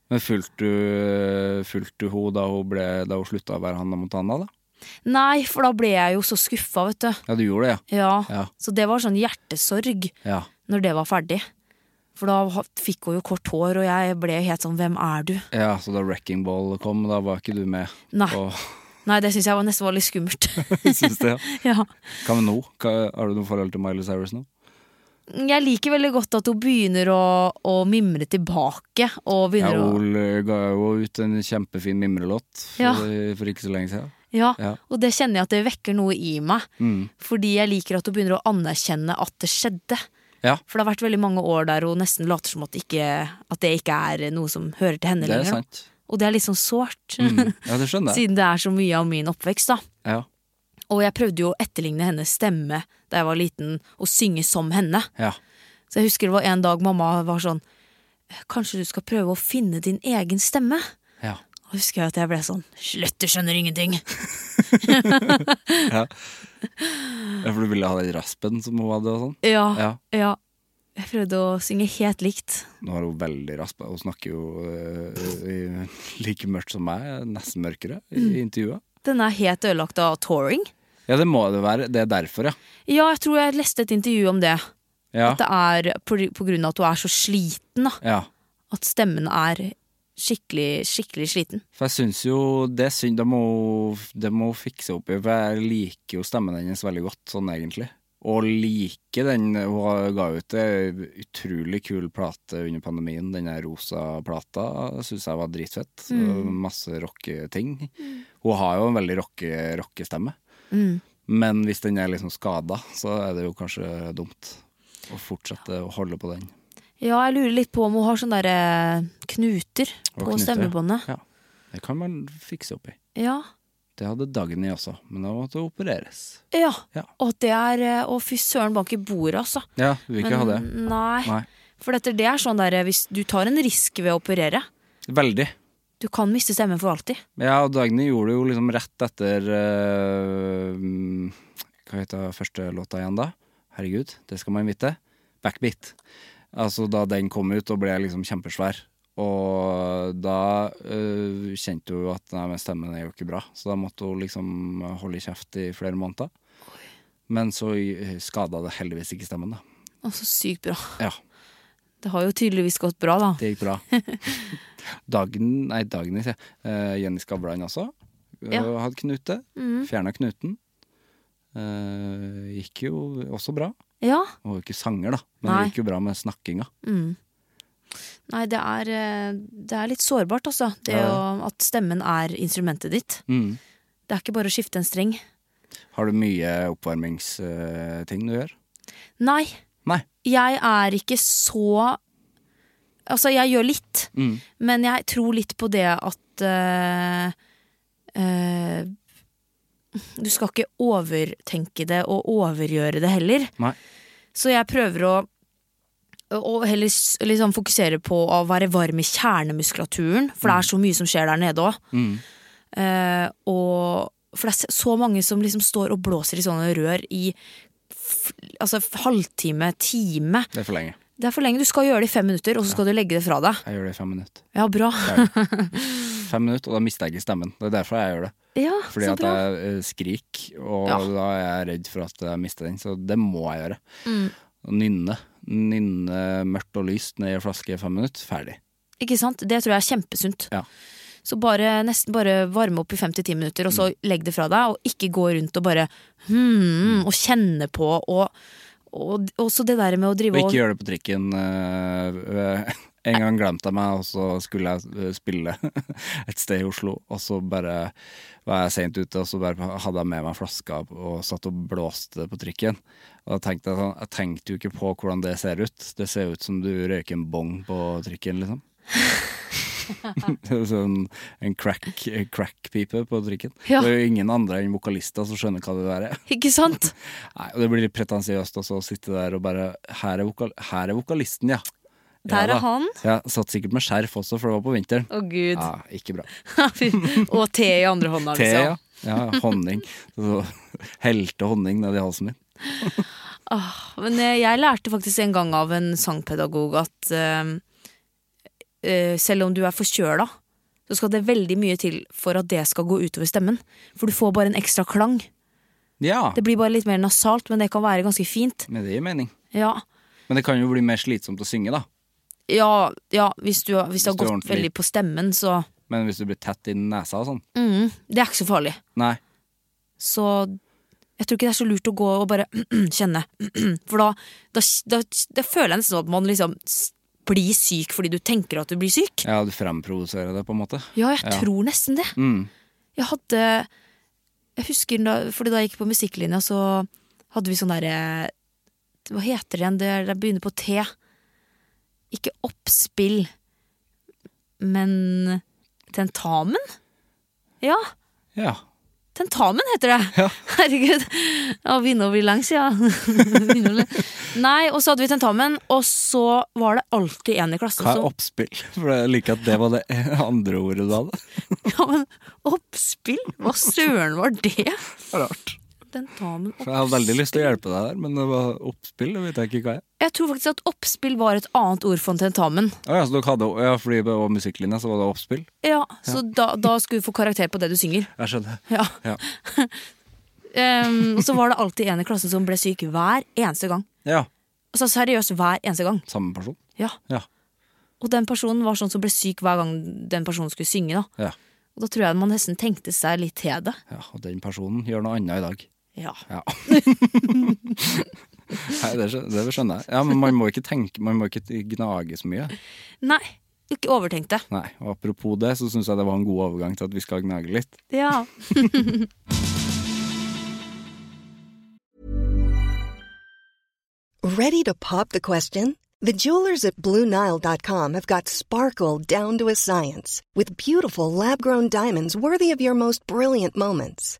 Speaker 1: Men fulgte du, fulgte du henne da hun, ble, da hun slutta å være Hanna Montana, da?
Speaker 2: Nei, for da ble jeg jo så skuffa, vet du.
Speaker 1: Ja, du gjorde det,
Speaker 2: Ja.
Speaker 1: Ja.
Speaker 2: Så det var sånn hjertesorg
Speaker 1: ja. ja.
Speaker 2: når det var ferdig. For da ha- fikk hun jo kort hår, og jeg ble helt sånn 'hvem er du'?
Speaker 1: Ja, så da Wrecking Ball kom, da var ikke du med?
Speaker 2: Nei,
Speaker 1: Og,
Speaker 2: Nei det syns jeg var nesten var litt skummelt.
Speaker 1: synes det, ja.
Speaker 2: ja.
Speaker 1: Hva med nå? Hva, har du noe forhold til Miley Cyrus nå?
Speaker 2: Jeg liker veldig godt at hun begynner å, å mimre tilbake. Og
Speaker 1: Ja,
Speaker 2: begynner å
Speaker 1: Hun l- ga jo ut en kjempefin mimrelåt for,
Speaker 2: Ja.
Speaker 1: for ikke så lenge siden.
Speaker 2: Ja,
Speaker 1: Ja. Mm.
Speaker 2: og det kjenner jeg at det vekker noe i meg. Fordi jeg liker at hun begynner å anerkjenne at det skjedde.
Speaker 1: Ja,
Speaker 2: For det har vært veldig mange år der hun nesten later som at, ikke, at det ikke er noe som hører til henne
Speaker 1: det er
Speaker 2: lenger. da.
Speaker 1: sant. Mm.
Speaker 2: Og det er litt sånn sårt,
Speaker 1: Ja, det skjønner jeg.
Speaker 2: siden det er så mye av min oppvekst, da.
Speaker 1: Ja,
Speaker 2: Og jeg prøvde jo å etterligne hennes stemme da jeg var liten, og synge som henne.
Speaker 1: ja.
Speaker 2: Så jeg husker det var en dag mamma var sånn Kanskje du skal prøve å finne din egen stemme?
Speaker 1: ja.
Speaker 2: Og husker jeg at jeg ble sånn Slutt, du skjønner ingenting!
Speaker 1: Ja, For du ville ha den raspen som hun hadde og sånn?
Speaker 2: Ja, ja.
Speaker 1: Ja.
Speaker 2: Jeg prøvde å synge helt likt.
Speaker 1: Nå har hun veldig rasp. Hun snakker jo øh, i- like mørkt som meg, nesten mørkere, i
Speaker 2: Mm.
Speaker 1: intervjuet.
Speaker 2: Den er helt ødelagt av touring.
Speaker 1: Ja, det må det være. Det er derfor, ja.
Speaker 2: Ja, jeg tror jeg leste et intervju om det.
Speaker 1: Ja.
Speaker 2: At det er på, på grunn av at hun er så sliten, da.
Speaker 1: ja.
Speaker 2: At stemmen er skikkelig, skikkelig sliten.
Speaker 1: For jeg syns jo det er synd. Det må, det må fikse opp i, for jeg liker jo stemmen hennes veldig godt, sånn egentlig. Og liker den hun ga ut en utrolig kul plate under pandemien. Den der rosa plata syns jeg var dritfett. Så
Speaker 2: Mm.
Speaker 1: Masse rocketing. Hun har jo en veldig rocke, rockestemme.
Speaker 2: Mm.
Speaker 1: Men hvis den er liksom skada, så er det jo kanskje dumt å fortsette å holde på den.
Speaker 2: Ja, jeg lurer litt på om hun har sånne der eh, knuter
Speaker 1: Og
Speaker 2: på
Speaker 1: knyte.
Speaker 2: stemmebåndet.
Speaker 1: Ja. Det kan man fikse opp i.
Speaker 2: Ja.
Speaker 1: Det hadde Dagny også, men da måtte hun opereres.
Speaker 2: ja.
Speaker 1: Ja.
Speaker 2: Og at det er eh, Å, fy søren, bank i bordet, altså.
Speaker 1: Ja, du vil ikke ha det.
Speaker 2: Nei.
Speaker 1: Nei.
Speaker 2: For dette, det er sånn der eh, hvis du tar en risk ved å operere.
Speaker 1: Veldig.
Speaker 2: Du kan miste stemmen for alltid.
Speaker 1: Ja, og Dagny gjorde det jo liksom rett etter eh, mm, Hva heter første låta igjen, da? Herregud, det skal man vite. Backbeat. Altså da den kom ut og ble liksom kjempesvær. Og da eh, kjente hun jo at nei, men stemmen er jo ikke bra, så da måtte hun liksom holde kjeft i flere måneder. Men så eh, skada det heldigvis ikke stemmen, da.
Speaker 2: Å, så sykt bra.
Speaker 1: Ja,
Speaker 2: Det har jo tydeligvis gått bra, da.
Speaker 1: Det gikk bra. Dagen, nei, Dagny, sier jeg. Eh, Jenny Skavlan også. Eh,
Speaker 2: Ja. Mm.
Speaker 1: Hadde knute. Fjerna knuten. Eh, gikk jo også bra.
Speaker 2: Ja.
Speaker 1: Hun var jo ikke sanger, da, men
Speaker 2: Nei.
Speaker 1: det gikk jo bra med snakkinga.
Speaker 2: Nei, det er, eh, det er litt sårbart, altså. Det å, at stemmen er instrumentet ditt.
Speaker 1: Mm.
Speaker 2: Det er ikke bare å skifte en streng.
Speaker 1: Har du mye oppvarmingsting du gjør?
Speaker 2: Nei,
Speaker 1: Nei.
Speaker 2: jeg er ikke så Altså, jeg gjør litt,
Speaker 1: Mm.
Speaker 2: men jeg tror litt på det at eh, eh, Du skal ikke overtenke det og overgjøre det heller.
Speaker 1: Nei.
Speaker 2: Så jeg prøver å, å heller s- liksom fokusere på å være varm i kjernemuskulaturen, for det er så mye som skjer der nede òg.
Speaker 1: Mm.
Speaker 2: Eh, og For det er så mange som liksom står og blåser i sånne rør i f altså f- halvtime, time.
Speaker 1: Det er for lenge.
Speaker 2: Det er for lenge. Du skal gjøre det i fem minutter, og så skal du legge det fra deg.
Speaker 1: Jeg gjør det i fem minutter.
Speaker 2: Ja, bra.
Speaker 1: Fem minutter, Og da mister jeg ikke stemmen. Det er derfor jeg gjør det.
Speaker 2: Ja,
Speaker 1: Fordi
Speaker 2: så
Speaker 1: at
Speaker 2: bra.
Speaker 1: jeg eh, skriker, og
Speaker 2: Ja.
Speaker 1: da er jeg redd for at jeg mister den. Så det må jeg gjøre.
Speaker 2: Mm.
Speaker 1: Og nynne. Nynne mørkt og lyst ned i en flaske i fem minutter. Ferdig.
Speaker 2: Ikke sant? Det tror jeg er kjempesunt.
Speaker 1: Ja.
Speaker 2: Så bare, nesten bare varme opp i fem til ti minutter, og
Speaker 1: Mm.
Speaker 2: så legg det fra deg. Og ikke gå rundt og bare
Speaker 1: Mm.
Speaker 2: hmm, og kjenne på. Og, og, og så det der med å
Speaker 1: Og
Speaker 2: drive
Speaker 1: ikke gjør det på trikken. eh, eh, en gang glemte jeg meg, og så skulle jeg eh, spille et sted i Oslo. Og så bare var jeg seint ute, og så bare hadde jeg med meg flaska og satt og blåste på trikken. Og da tenkte jeg sånn, jeg tenkte jo ikke på hvordan det ser ut. Det ser jo ut som du røyker en bong på trikken, liksom. Det er sånn, en crack- en crack-pipe på trikken.
Speaker 2: Ja.
Speaker 1: Det er jo ingen andre enn vokalister som skjønner hva det der er.
Speaker 2: og Ikke sant?
Speaker 1: Nei, og Det blir litt pretensiøst også å sitte der og bare Her er, vokal her er vokalisten, ja.
Speaker 2: Der
Speaker 1: ja, da.
Speaker 2: er han.
Speaker 1: Ja, Satt sikkert med skjerf også, for det var på vinteren.
Speaker 2: Å, gud.
Speaker 1: Ja, ikke bra.
Speaker 2: og te i andre hånda,
Speaker 1: Te,
Speaker 2: liksom.
Speaker 1: ja. ja honning. Så helte honning nedi halsen min.
Speaker 2: Men eh, jeg lærte faktisk en gang av en sangpedagog at eh, eh, selv om du er forkjøla, så skal det veldig mye til for at det skal gå utover stemmen. For du får bare en ekstra klang.
Speaker 1: Ja,
Speaker 2: Det blir bare litt mer nasalt, men det kan være ganske fint.
Speaker 1: men det gir mening.
Speaker 2: Ja,
Speaker 1: Men det kan jo bli mer slitsomt å synge, da.
Speaker 2: ja, ja hvis, du, hvis det
Speaker 1: Hvis
Speaker 2: har
Speaker 1: du er
Speaker 2: gått
Speaker 1: ordentlig-
Speaker 2: veldig på stemmen, så
Speaker 1: Men hvis du blir tett i nesa og sånn
Speaker 2: mm, Det er ikke så farlig.
Speaker 1: Nei.
Speaker 2: Så jeg tror ikke det er så lurt å gå og bare kjenne. For da, da, da, da føler jeg nesten at man liksom s- blir syk fordi du tenker at du blir syk.
Speaker 1: Ja, du fremprovoserer det, på en måte.
Speaker 2: Ja, jeg
Speaker 1: Ja.
Speaker 2: tror nesten det.
Speaker 1: Mm.
Speaker 2: Jeg hadde Jeg husker da, fordi da jeg gikk på musikklinja, så hadde vi sånn derre Hva heter det igjen? Det, det begynner på T. Ikke oppspill, men tentamen? Ja,
Speaker 1: Ja.
Speaker 2: tentamen heter det! Herregud. Å begynne å bli lang, sier jeg. Begynner å bli- Nei, og så hadde vi tentamen, og så var det alltid en i klassen
Speaker 1: Hva
Speaker 2: som
Speaker 1: er oppspill? For jeg liker at det var det andre ordet du hadde.
Speaker 2: Ja, men oppspill? Hva søren var det?
Speaker 1: Rart.
Speaker 2: Tentamen
Speaker 1: For jeg hadde veldig lyst til å hjelpe deg der, men det var oppspill, det vet jeg ikke hva er.
Speaker 2: Jeg tror faktisk at oppspill var et annet ord for en tentamen.
Speaker 1: Å ja, så dere hadde, ja, fordi det var musikklinja, så var det oppspill?
Speaker 2: Ja, Så da, da skulle du få karakter på det du synger.
Speaker 1: Jeg skjønner.
Speaker 2: Ja.
Speaker 1: Ja.
Speaker 2: Ehm, og så var det alltid en i klassen som ble syk hver eneste gang.
Speaker 1: Ja,
Speaker 2: Altså seriøst hver eneste gang.
Speaker 1: samme person?
Speaker 2: Ja.
Speaker 1: Ja.
Speaker 2: Og den personen var sånn som ble syk hver gang den personen skulle synge.
Speaker 1: Ja,
Speaker 2: da. Og da tror jeg man nesten tenkte seg litt til det.
Speaker 1: ja og den personen gjør noe annet i dag.
Speaker 2: Ja.
Speaker 1: Ja. Nei, det, skjø- det skjønner jeg. Ja, men man må ikke tenke, man må ikke gnage så mye.
Speaker 2: Nei, ikke overtenk det.
Speaker 1: Nei, og apropos det, så syns jeg det var en god overgang til at vi skal gnage litt.
Speaker 2: Ja.
Speaker 3: Ready to pop the question? The jewelers at BlueNile.com have got sparkle down to a science with beautiful lab grown diamonds worthy of your most brilliant moments.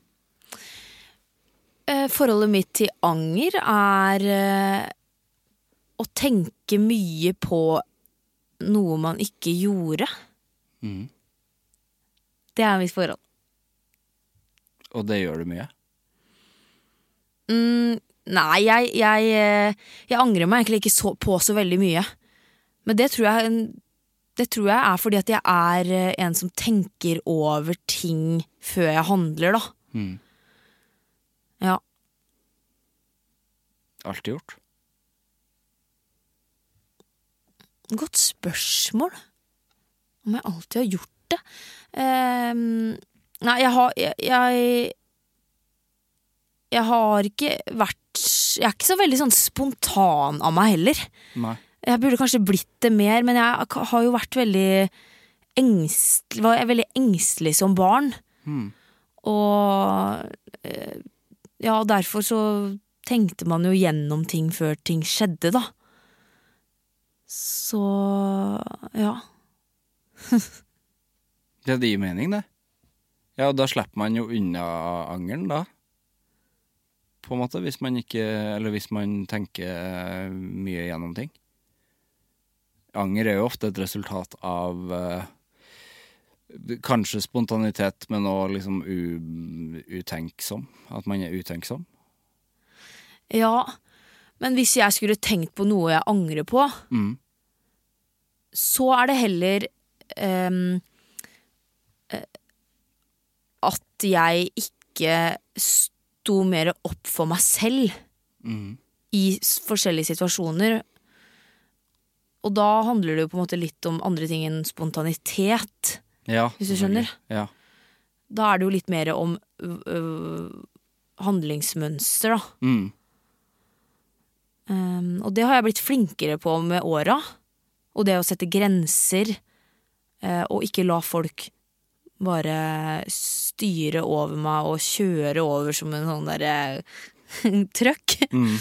Speaker 2: Eh, Forholdet mitt til anger er eh, å tenke mye på noe man ikke gjorde.
Speaker 1: Mhm.
Speaker 2: Det er mitt forhold.
Speaker 1: Og det gjør du mye.
Speaker 2: Mm, nei, jeg, jeg, eh, jeg angrer meg egentlig ikke så, på så veldig mye. Men det tror, jeg, det tror jeg er fordi at jeg er eh, en som tenker over ting før jeg handler, da.
Speaker 1: Mhm.
Speaker 2: Ja.
Speaker 1: Alt er gjort.
Speaker 2: Godt spørsmål. Om jeg alltid har gjort det. Ehm, nei, jeg har jeg, jeg Jeg har ikke vært Jeg er ikke så veldig sånn spontan av meg heller.
Speaker 1: Nei.
Speaker 2: Jeg burde kanskje blitt det mer, men jeg k- har jo vært veldig engstelig, var veldig engstelig som barn.
Speaker 1: Mhm.
Speaker 2: Og eh, ja, derfor så tenkte man jo gjennom ting før ting skjedde, da. Så ja.
Speaker 1: Ja, det gir mening, det. Ja, og da slipper man jo unna angeren, da. På en måte, hvis man ikke Eller hvis man tenker eh, mye gjennom ting. Anger er jo ofte et resultat av eh, kanskje spontanitet, men òg liksom u, utenksom. At man er utenksom.
Speaker 2: Ja. Men hvis jeg skulle tenkt på noe jeg angrer på,
Speaker 1: Mm.
Speaker 2: så er det heller ehm, eh, at jeg ikke sto mer opp for meg selv Mm.
Speaker 1: Mhm.
Speaker 2: i s- forskjellige situasjoner. Og da handler det jo på en måte litt om andre ting enn spontanitet.
Speaker 1: Ja,
Speaker 2: Hvis du
Speaker 1: selvfølgelig. Ja.
Speaker 2: Da er det jo litt mer om øh, øh, handlingsmønster, da.
Speaker 1: Mm.
Speaker 2: Ehm, og det har jeg blitt flinkere på med åra. Og det å sette grenser, eh, og ikke la folk bare styre over meg og kjøre over som en sånn derre trøkk.
Speaker 1: Mm.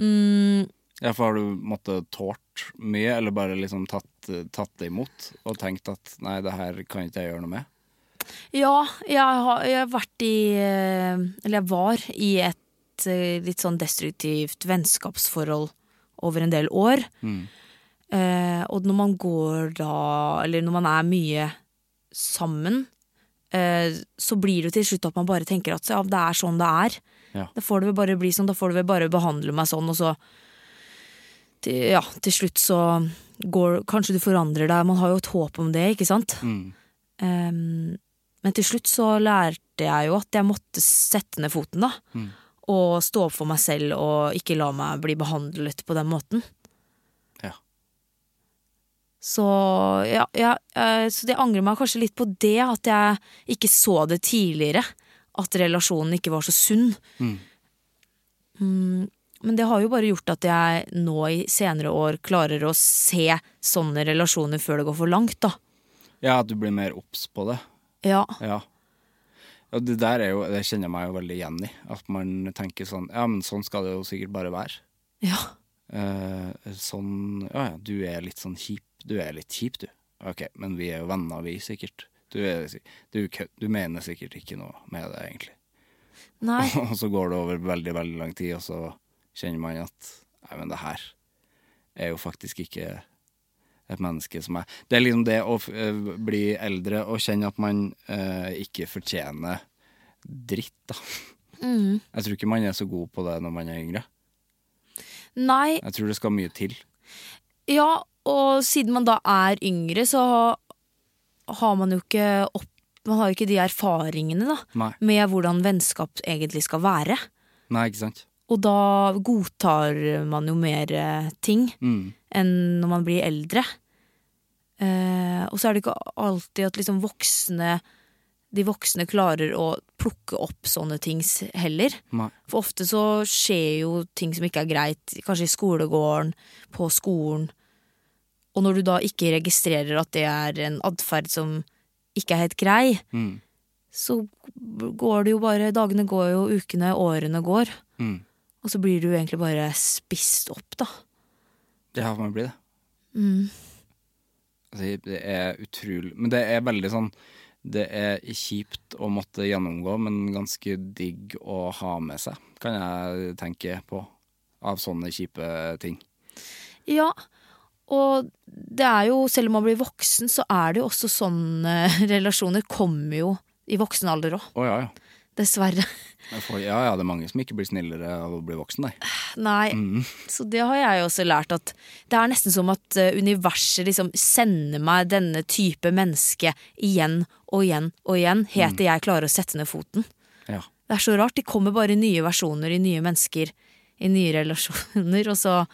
Speaker 2: Mm,
Speaker 1: Ja, for har du måttet tålt mye, eller bare liksom tatt, tatt det imot og tenkt at nei, det her kan ikke jeg gjøre noe med?
Speaker 2: ja, jeg har, jeg har vært i eh, Eller jeg var i et eh, litt sånn destruktivt vennskapsforhold over en del år.
Speaker 1: Mm.
Speaker 2: Eh, og når man går da, eller når man er mye sammen, eh, så blir det til slutt at man bare tenker at ja, det er sånn det er.
Speaker 1: Ja.
Speaker 2: Da får det vel bare bli sånn, da får det vel bare behandle meg sånn, og så til, Ja, til slutt så går Kanskje du forandrer deg, man har jo et håp om det, ikke sant?
Speaker 1: Mm.
Speaker 2: Ehm, men til slutt så lærte jeg jo at jeg måtte sette ned foten, da. Og stå opp for meg selv og ikke la meg bli behandlet på den måten.
Speaker 1: Ja.
Speaker 2: Så, ja, ja, eh, så det angrer meg kanskje litt på det, at jeg ikke så det tidligere. At relasjonen ikke var så sunn.
Speaker 1: Mm.
Speaker 2: Mm, men det har jo bare gjort at jeg nå i senere år klarer å se sånne relasjoner før det går for langt, da.
Speaker 1: Ja, at du blir mer obs på det.
Speaker 2: Ja.
Speaker 1: Ja. Og det der er jo, det kjenner jeg meg jo veldig igjen i. At man tenker sånn Ja, men sånn skal det jo sikkert bare være.
Speaker 2: ja.
Speaker 1: Eh, sånn Ja ja, du er litt sånn kjip. Du er litt kjip, du. Ok, men vi er jo venner, vi, sikkert. Du, er, si- du, kø- du mener sikkert ikke noe med det, egentlig.
Speaker 2: Nei.
Speaker 1: Og så går det over veldig, veldig lang tid, og så kjenner man at Nei, men det her er jo faktisk ikke et menneske som er Det er liksom det å eh, bli eldre og kjenne at man eh, ikke fortjener dritt, da.
Speaker 2: Mm.
Speaker 1: Jeg tror ikke man er så god på det når man er yngre.
Speaker 2: Nei.
Speaker 1: Jeg tror det skal mye til.
Speaker 2: Ja, og siden man da er yngre, så har man jo ikke opp Man har jo ikke de erfaringene, da.
Speaker 1: Nei,
Speaker 2: Med hvordan vennskap egentlig skal være.
Speaker 1: Nei ikke sant?
Speaker 2: Og da godtar man jo mer eh, ting
Speaker 1: Mm.
Speaker 2: enn når man blir eldre. Eh, og så er det ikke alltid at liksom voksne de voksne klarer å plukke opp sånne ting s- heller.
Speaker 1: Nei.
Speaker 2: For ofte så skjer jo ting som ikke er greit, kanskje i skolegården, på skolen. Og når du da ikke registrerer at det er en atferd som ikke er helt grei,
Speaker 1: Mm.
Speaker 2: så går det jo bare Dagene går jo, ukene, årene går.
Speaker 1: Mm.
Speaker 2: Og så blir du egentlig bare spist opp, da.
Speaker 1: Ja, man blir det.
Speaker 2: Mm.
Speaker 1: Altså, Det er utrolig Men det er veldig sånn Det er kjipt å måtte gjennomgå, men ganske digg å ha med seg, kan jeg tenke på. Av sånne kjipe ting.
Speaker 2: Ja, og det er jo, selv om man blir voksen, så er det jo også sånne relasjoner kommer jo i voksen alder òg.
Speaker 1: Å ja, ja.
Speaker 2: Dessverre.
Speaker 1: Jeg får, ja ja, det er mange som ikke blir snillere av å bli voksen, nei.
Speaker 2: Nei, så det har jeg også lært at det er nesten som at eh, universet liksom sender meg denne type menneske igjen og igjen og igjen, helt til jeg klarer å sette ned foten.
Speaker 1: Ja.
Speaker 2: Det er så rart. De kommer bare i nye versjoner, i nye mennesker, i nye relasjoner. Og så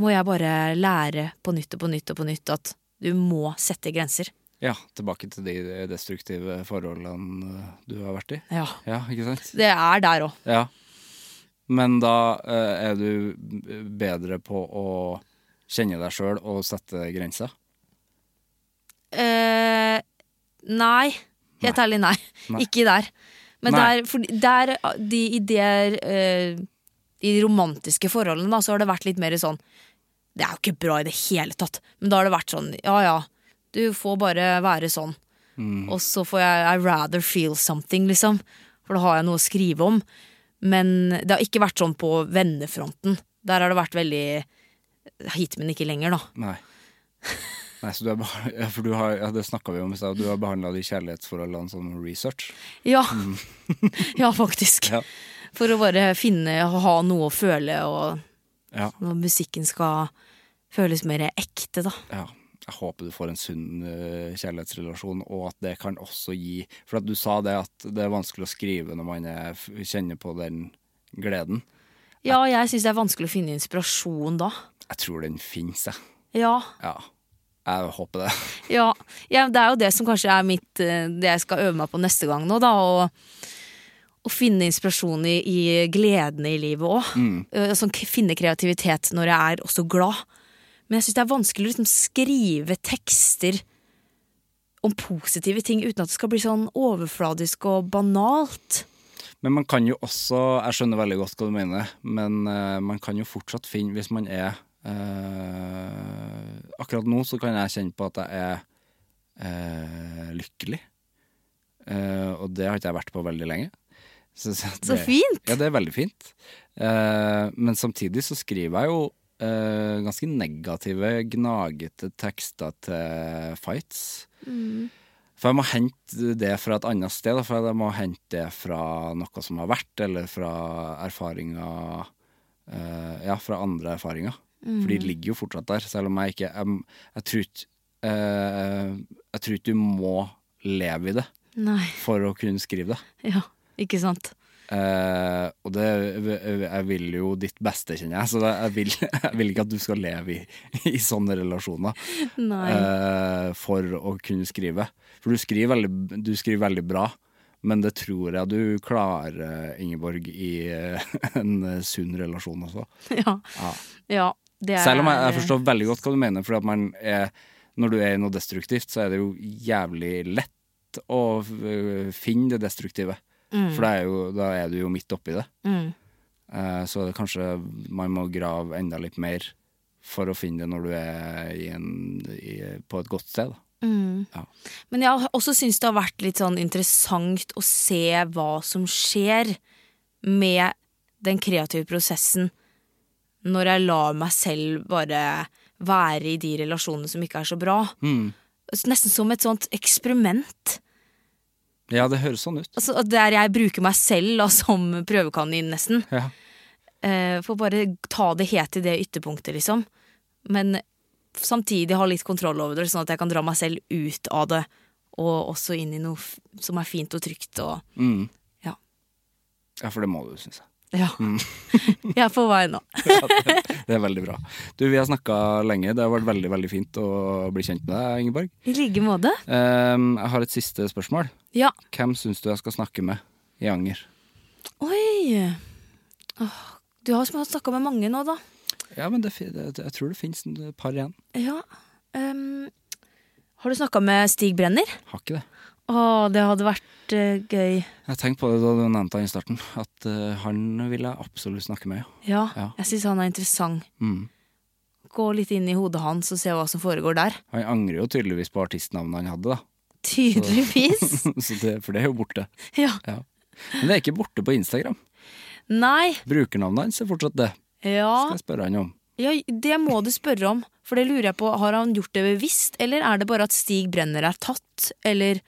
Speaker 2: må jeg bare lære på nytt og på nytt og på nytt at du må sette grenser.
Speaker 1: ja, tilbake til de destruktive forholdene eh, du har vært i.
Speaker 2: Ja.
Speaker 1: Ja, ikke sant?
Speaker 2: Det er der òg.
Speaker 1: Ja. Men da eh, er du bedre på å kjenne deg sjøl og sette grenser.
Speaker 2: Eh, nei. Helt ærlig, nei.
Speaker 1: Nei.
Speaker 2: Ikke der. Men
Speaker 1: Nei.
Speaker 2: der, for der ah, de, I der, eh, i de romantiske forholdene da, så har det vært litt mer sånn Det er jo ikke bra i det hele tatt, men da har det vært sånn Ja ja, du får bare være sånn.
Speaker 1: Mm.
Speaker 2: Og så får jeg I rather feel something, liksom. For da har jeg noe å skrive om. Men det har ikke vært sånn på vennefronten. Der har det vært veldig hit, men ikke lenger, da.
Speaker 1: Nei. Nei, så du er beha- ja, for du har, ja, Det snakka vi om i stad. Du har behandla de kjærlighetsforholdene som research.
Speaker 2: Ja. ja, faktisk.
Speaker 1: Mm. Ja.
Speaker 2: For å bare finne og ha noe å føle, og
Speaker 1: Ja.
Speaker 2: når musikken skal føles mer ekte, da.
Speaker 1: ja. Jeg håper du får en sunn eh, kjærlighetsrelasjon, og at det kan også gi For at du sa det at det er vanskelig å skrive når man er, f- kjenner på den gleden.
Speaker 2: Ja, jeg syns det er vanskelig å finne inspirasjon da.
Speaker 1: Jeg tror den fins, jeg.
Speaker 2: Ja.
Speaker 1: Ja. Jeg håper det.
Speaker 2: ja. ja det er jo det som kanskje er mitt eh, Det jeg skal øve meg på neste gang nå, da. Og, å finne inspirasjon i, i gledene i livet òg.
Speaker 1: Mm.
Speaker 2: Sånn, k- finne kreativitet når jeg er også glad. Men jeg syns det er vanskelig å liksom skrive tekster om positive ting uten at det skal bli sånn overfladisk og banalt.
Speaker 1: Men man kan jo også, jeg skjønner veldig godt hva du mener, men eh, man kan jo fortsatt finne, hvis man er eh, Akkurat nå så kan jeg kjenne på at jeg er eh, lykkelig. Eh, og det har ikke jeg vært på veldig lenge. Så, det,
Speaker 2: Så fint!
Speaker 1: Ja, det er veldig fint. Eh, men samtidig så skriver jeg jo eh, ganske negative, gnagete tekster til fights. For jeg må hente det fra et annet sted, da, for jeg må hente det fra noe som har vært, eller fra erfaringer eh, Ja, fra andre erfaringer. For de ligger jo fortsatt der, selv om jeg ikke Jeg, jeg tror ikke eh, Jeg tror ikke du må leve i det
Speaker 2: Nei,
Speaker 1: for å kunne skrive det.
Speaker 2: ja, ikke sant.
Speaker 1: Eh, og det Jeg vil jo ditt beste, kjenner jeg, så det, jeg, vil, jeg vil ikke at du skal leve i, i sånne relasjoner
Speaker 2: Nei.
Speaker 1: eh, for å kunne skrive. For du skriver, veldig, du skriver veldig bra, men det tror jeg du klarer, Ingeborg, i eh, en sunn relasjon også.
Speaker 2: Ja. ja det er,
Speaker 1: Eh, Selv om jeg, jeg forstår veldig godt hva du mener, for at man er, når du er i noe destruktivt, så er det jo jævlig lett å øh, finne det destruktive. For da er, jo, da er du jo midt oppi det.
Speaker 2: Mm.
Speaker 1: Eh, Så det er kanskje man må grave enda litt mer for å finne det når du er i en, i, på et godt sted. da.
Speaker 2: Mm.
Speaker 1: Ja.
Speaker 2: Men jeg har også syns det har vært litt sånn interessant å se hva som skjer med den kreative prosessen når jeg lar meg selv bare være i de relasjonene som ikke er så bra. Nesten som et sånt eksperiment.
Speaker 1: Ja, det høres sånn ut.
Speaker 2: Altså, der jeg bruker meg selv da, som prøvekanin, nesten.
Speaker 1: Ja.
Speaker 2: Eh, Får bare ta det helt til det ytterpunktet, liksom. Men samtidig ha litt kontroll over det, sånn at jeg kan dra meg selv ut av det. Og også inn i noe f- som er fint og trygt og
Speaker 1: Mm.
Speaker 2: Ja.
Speaker 1: ja, for det må du, syns jeg.
Speaker 2: Ja. jeg er på vei nå.
Speaker 1: Det er veldig bra. Du, vi har snakka lenge. Det har vært veldig, veldig fint å bli kjent med deg, Ingeborg.
Speaker 2: I like måte.
Speaker 1: Ehm, jeg har et siste spørsmål.
Speaker 2: Ja.
Speaker 1: Hvem syns du jeg skal snakke med i Anger?
Speaker 2: Oi. Åh, Du har snakka med mange nå, da.
Speaker 1: Ja, men det, fi- det, Jeg tror det fins et par igjen.
Speaker 2: Ja. ehm, har du snakka med Stig Brenner?
Speaker 1: Har ikke det.
Speaker 2: Å Å, det hadde vært eh, gøy.
Speaker 1: Jeg tenkte på det da du nevnte han i starten, at eh, han vil jeg absolutt snakke med. ja.
Speaker 2: Ja,
Speaker 1: Ja.
Speaker 2: jeg syns han er interessant.
Speaker 1: Mm.
Speaker 2: Gå litt inn i hodet hans og se hva som foregår der.
Speaker 1: Han angrer jo tydeligvis på artistnavnet han hadde, da.
Speaker 2: Tydeligvis.
Speaker 1: Så det, for det er jo borte.
Speaker 2: Ja.
Speaker 1: Ja. Men det er ikke borte på Instagram.
Speaker 2: Nei.
Speaker 1: Brukernavnet hans er fortsatt det.
Speaker 2: Ja.
Speaker 1: Skal jeg spørre han om.
Speaker 2: ja, det må du spørre om. For det lurer jeg på, har han gjort det bevisst, eller er det bare at Stig Brenner er tatt, eller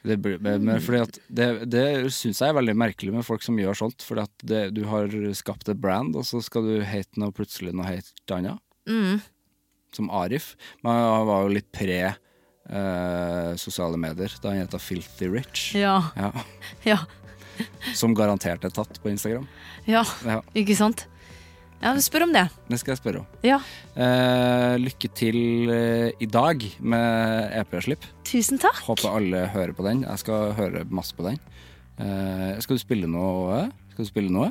Speaker 1: Det, blir- men fordi at det det syns jeg er veldig merkelig med folk som gjør sånt. For du har skapt et brand, og så skal du hete noe plutselig noe helt annet.
Speaker 2: Mm.
Speaker 1: Som Arif. Men han var jo litt pre eh, sosiale medier da han het Filthy Rich.
Speaker 2: Ja.
Speaker 1: Ja.
Speaker 2: Ja.
Speaker 1: Som garantert er tatt på Instagram.
Speaker 2: ja.
Speaker 1: Ja,
Speaker 2: Ikke sant? Ja, men spør om det.
Speaker 1: det skal jeg spørre om.
Speaker 2: Ja.
Speaker 1: Eh, lykke til eh, i dag med EP-slipp.
Speaker 2: Tusen takk.
Speaker 1: Håper alle hører på den. Jeg skal høre masse på den. Eh, skal du spille noe? eh? Skal du spille noe?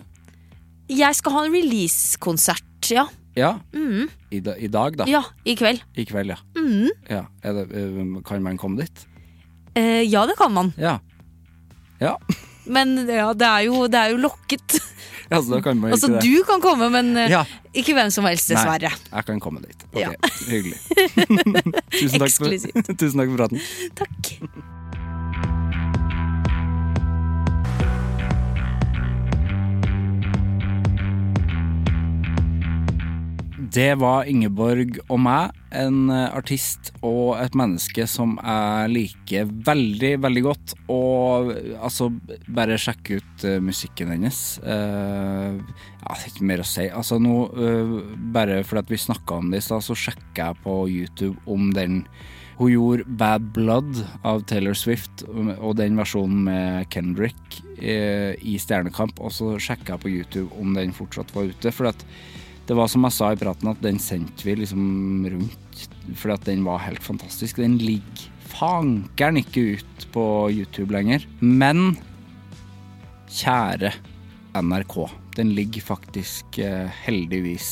Speaker 2: Jeg skal ha en release-konsert, ja.
Speaker 1: Ja. I, da, I dag, da.
Speaker 2: Mm. Ja, Mm. i kveld.
Speaker 1: I kveld, ja. ja. Er det, eh, kan man komme dit?
Speaker 2: Eh, ja, det kan man.
Speaker 1: Ja. Ja,
Speaker 2: Men ja, det er jo, det er jo lokket.
Speaker 1: ja så da kan man jo
Speaker 2: Altså,
Speaker 1: ikke det.
Speaker 2: du kan komme, men eh,
Speaker 1: Ja.
Speaker 2: ikke hvem som helst, dessverre.
Speaker 1: Nei, jeg kan komme dit. Ok,
Speaker 2: Ja.
Speaker 1: Hyggelig. Tusen takk, for,
Speaker 2: Eksklusivt.
Speaker 1: tusen takk for praten.
Speaker 2: Takk.
Speaker 1: Det var Ingeborg og meg, en eh, artist og et menneske som jeg liker veldig, veldig godt. Og eh, altså, bare sjekk ut eh, musikken hennes. Eh, ja, det er ikke mer å si. Altså, nå, eh, bare fordi at vi snakka om det i stad, så sjekka jeg på YouTube om den. Hun gjorde Bad Blood av Taylor Swift, og den versjonen med Kendrick eh, i Stjernekamp. Og så sjekka jeg på YouTube om den fortsatt var ute. For at det var som jeg sa i praten, at den sendte vi liksom rundt fordi at den var helt fantastisk. Den ligger fankeren ikke ut på YouTube lenger. Men kjære NRK, den ligger faktisk eh, heldigvis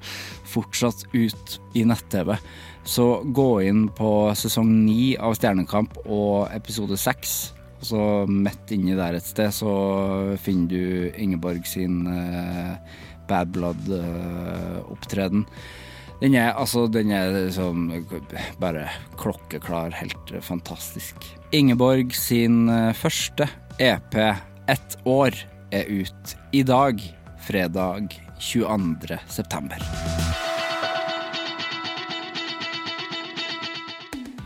Speaker 1: fortsatt ut i nett-TV. Så gå inn på sesong ni av Stjernekamp og episode seks. Og så midt inni der et sted så finner du Ingeborg sin eh, Bad eh, Blood-opptreden. Den er altså den er liksom bare klokkeklar, helt fantastisk. Ingeborg sin eh, første EP, Ett år, er ut i dag, fredag 22. september.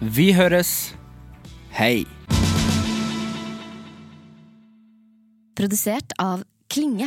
Speaker 1: Vi høres. Hei.
Speaker 4: Produsert av Klinge.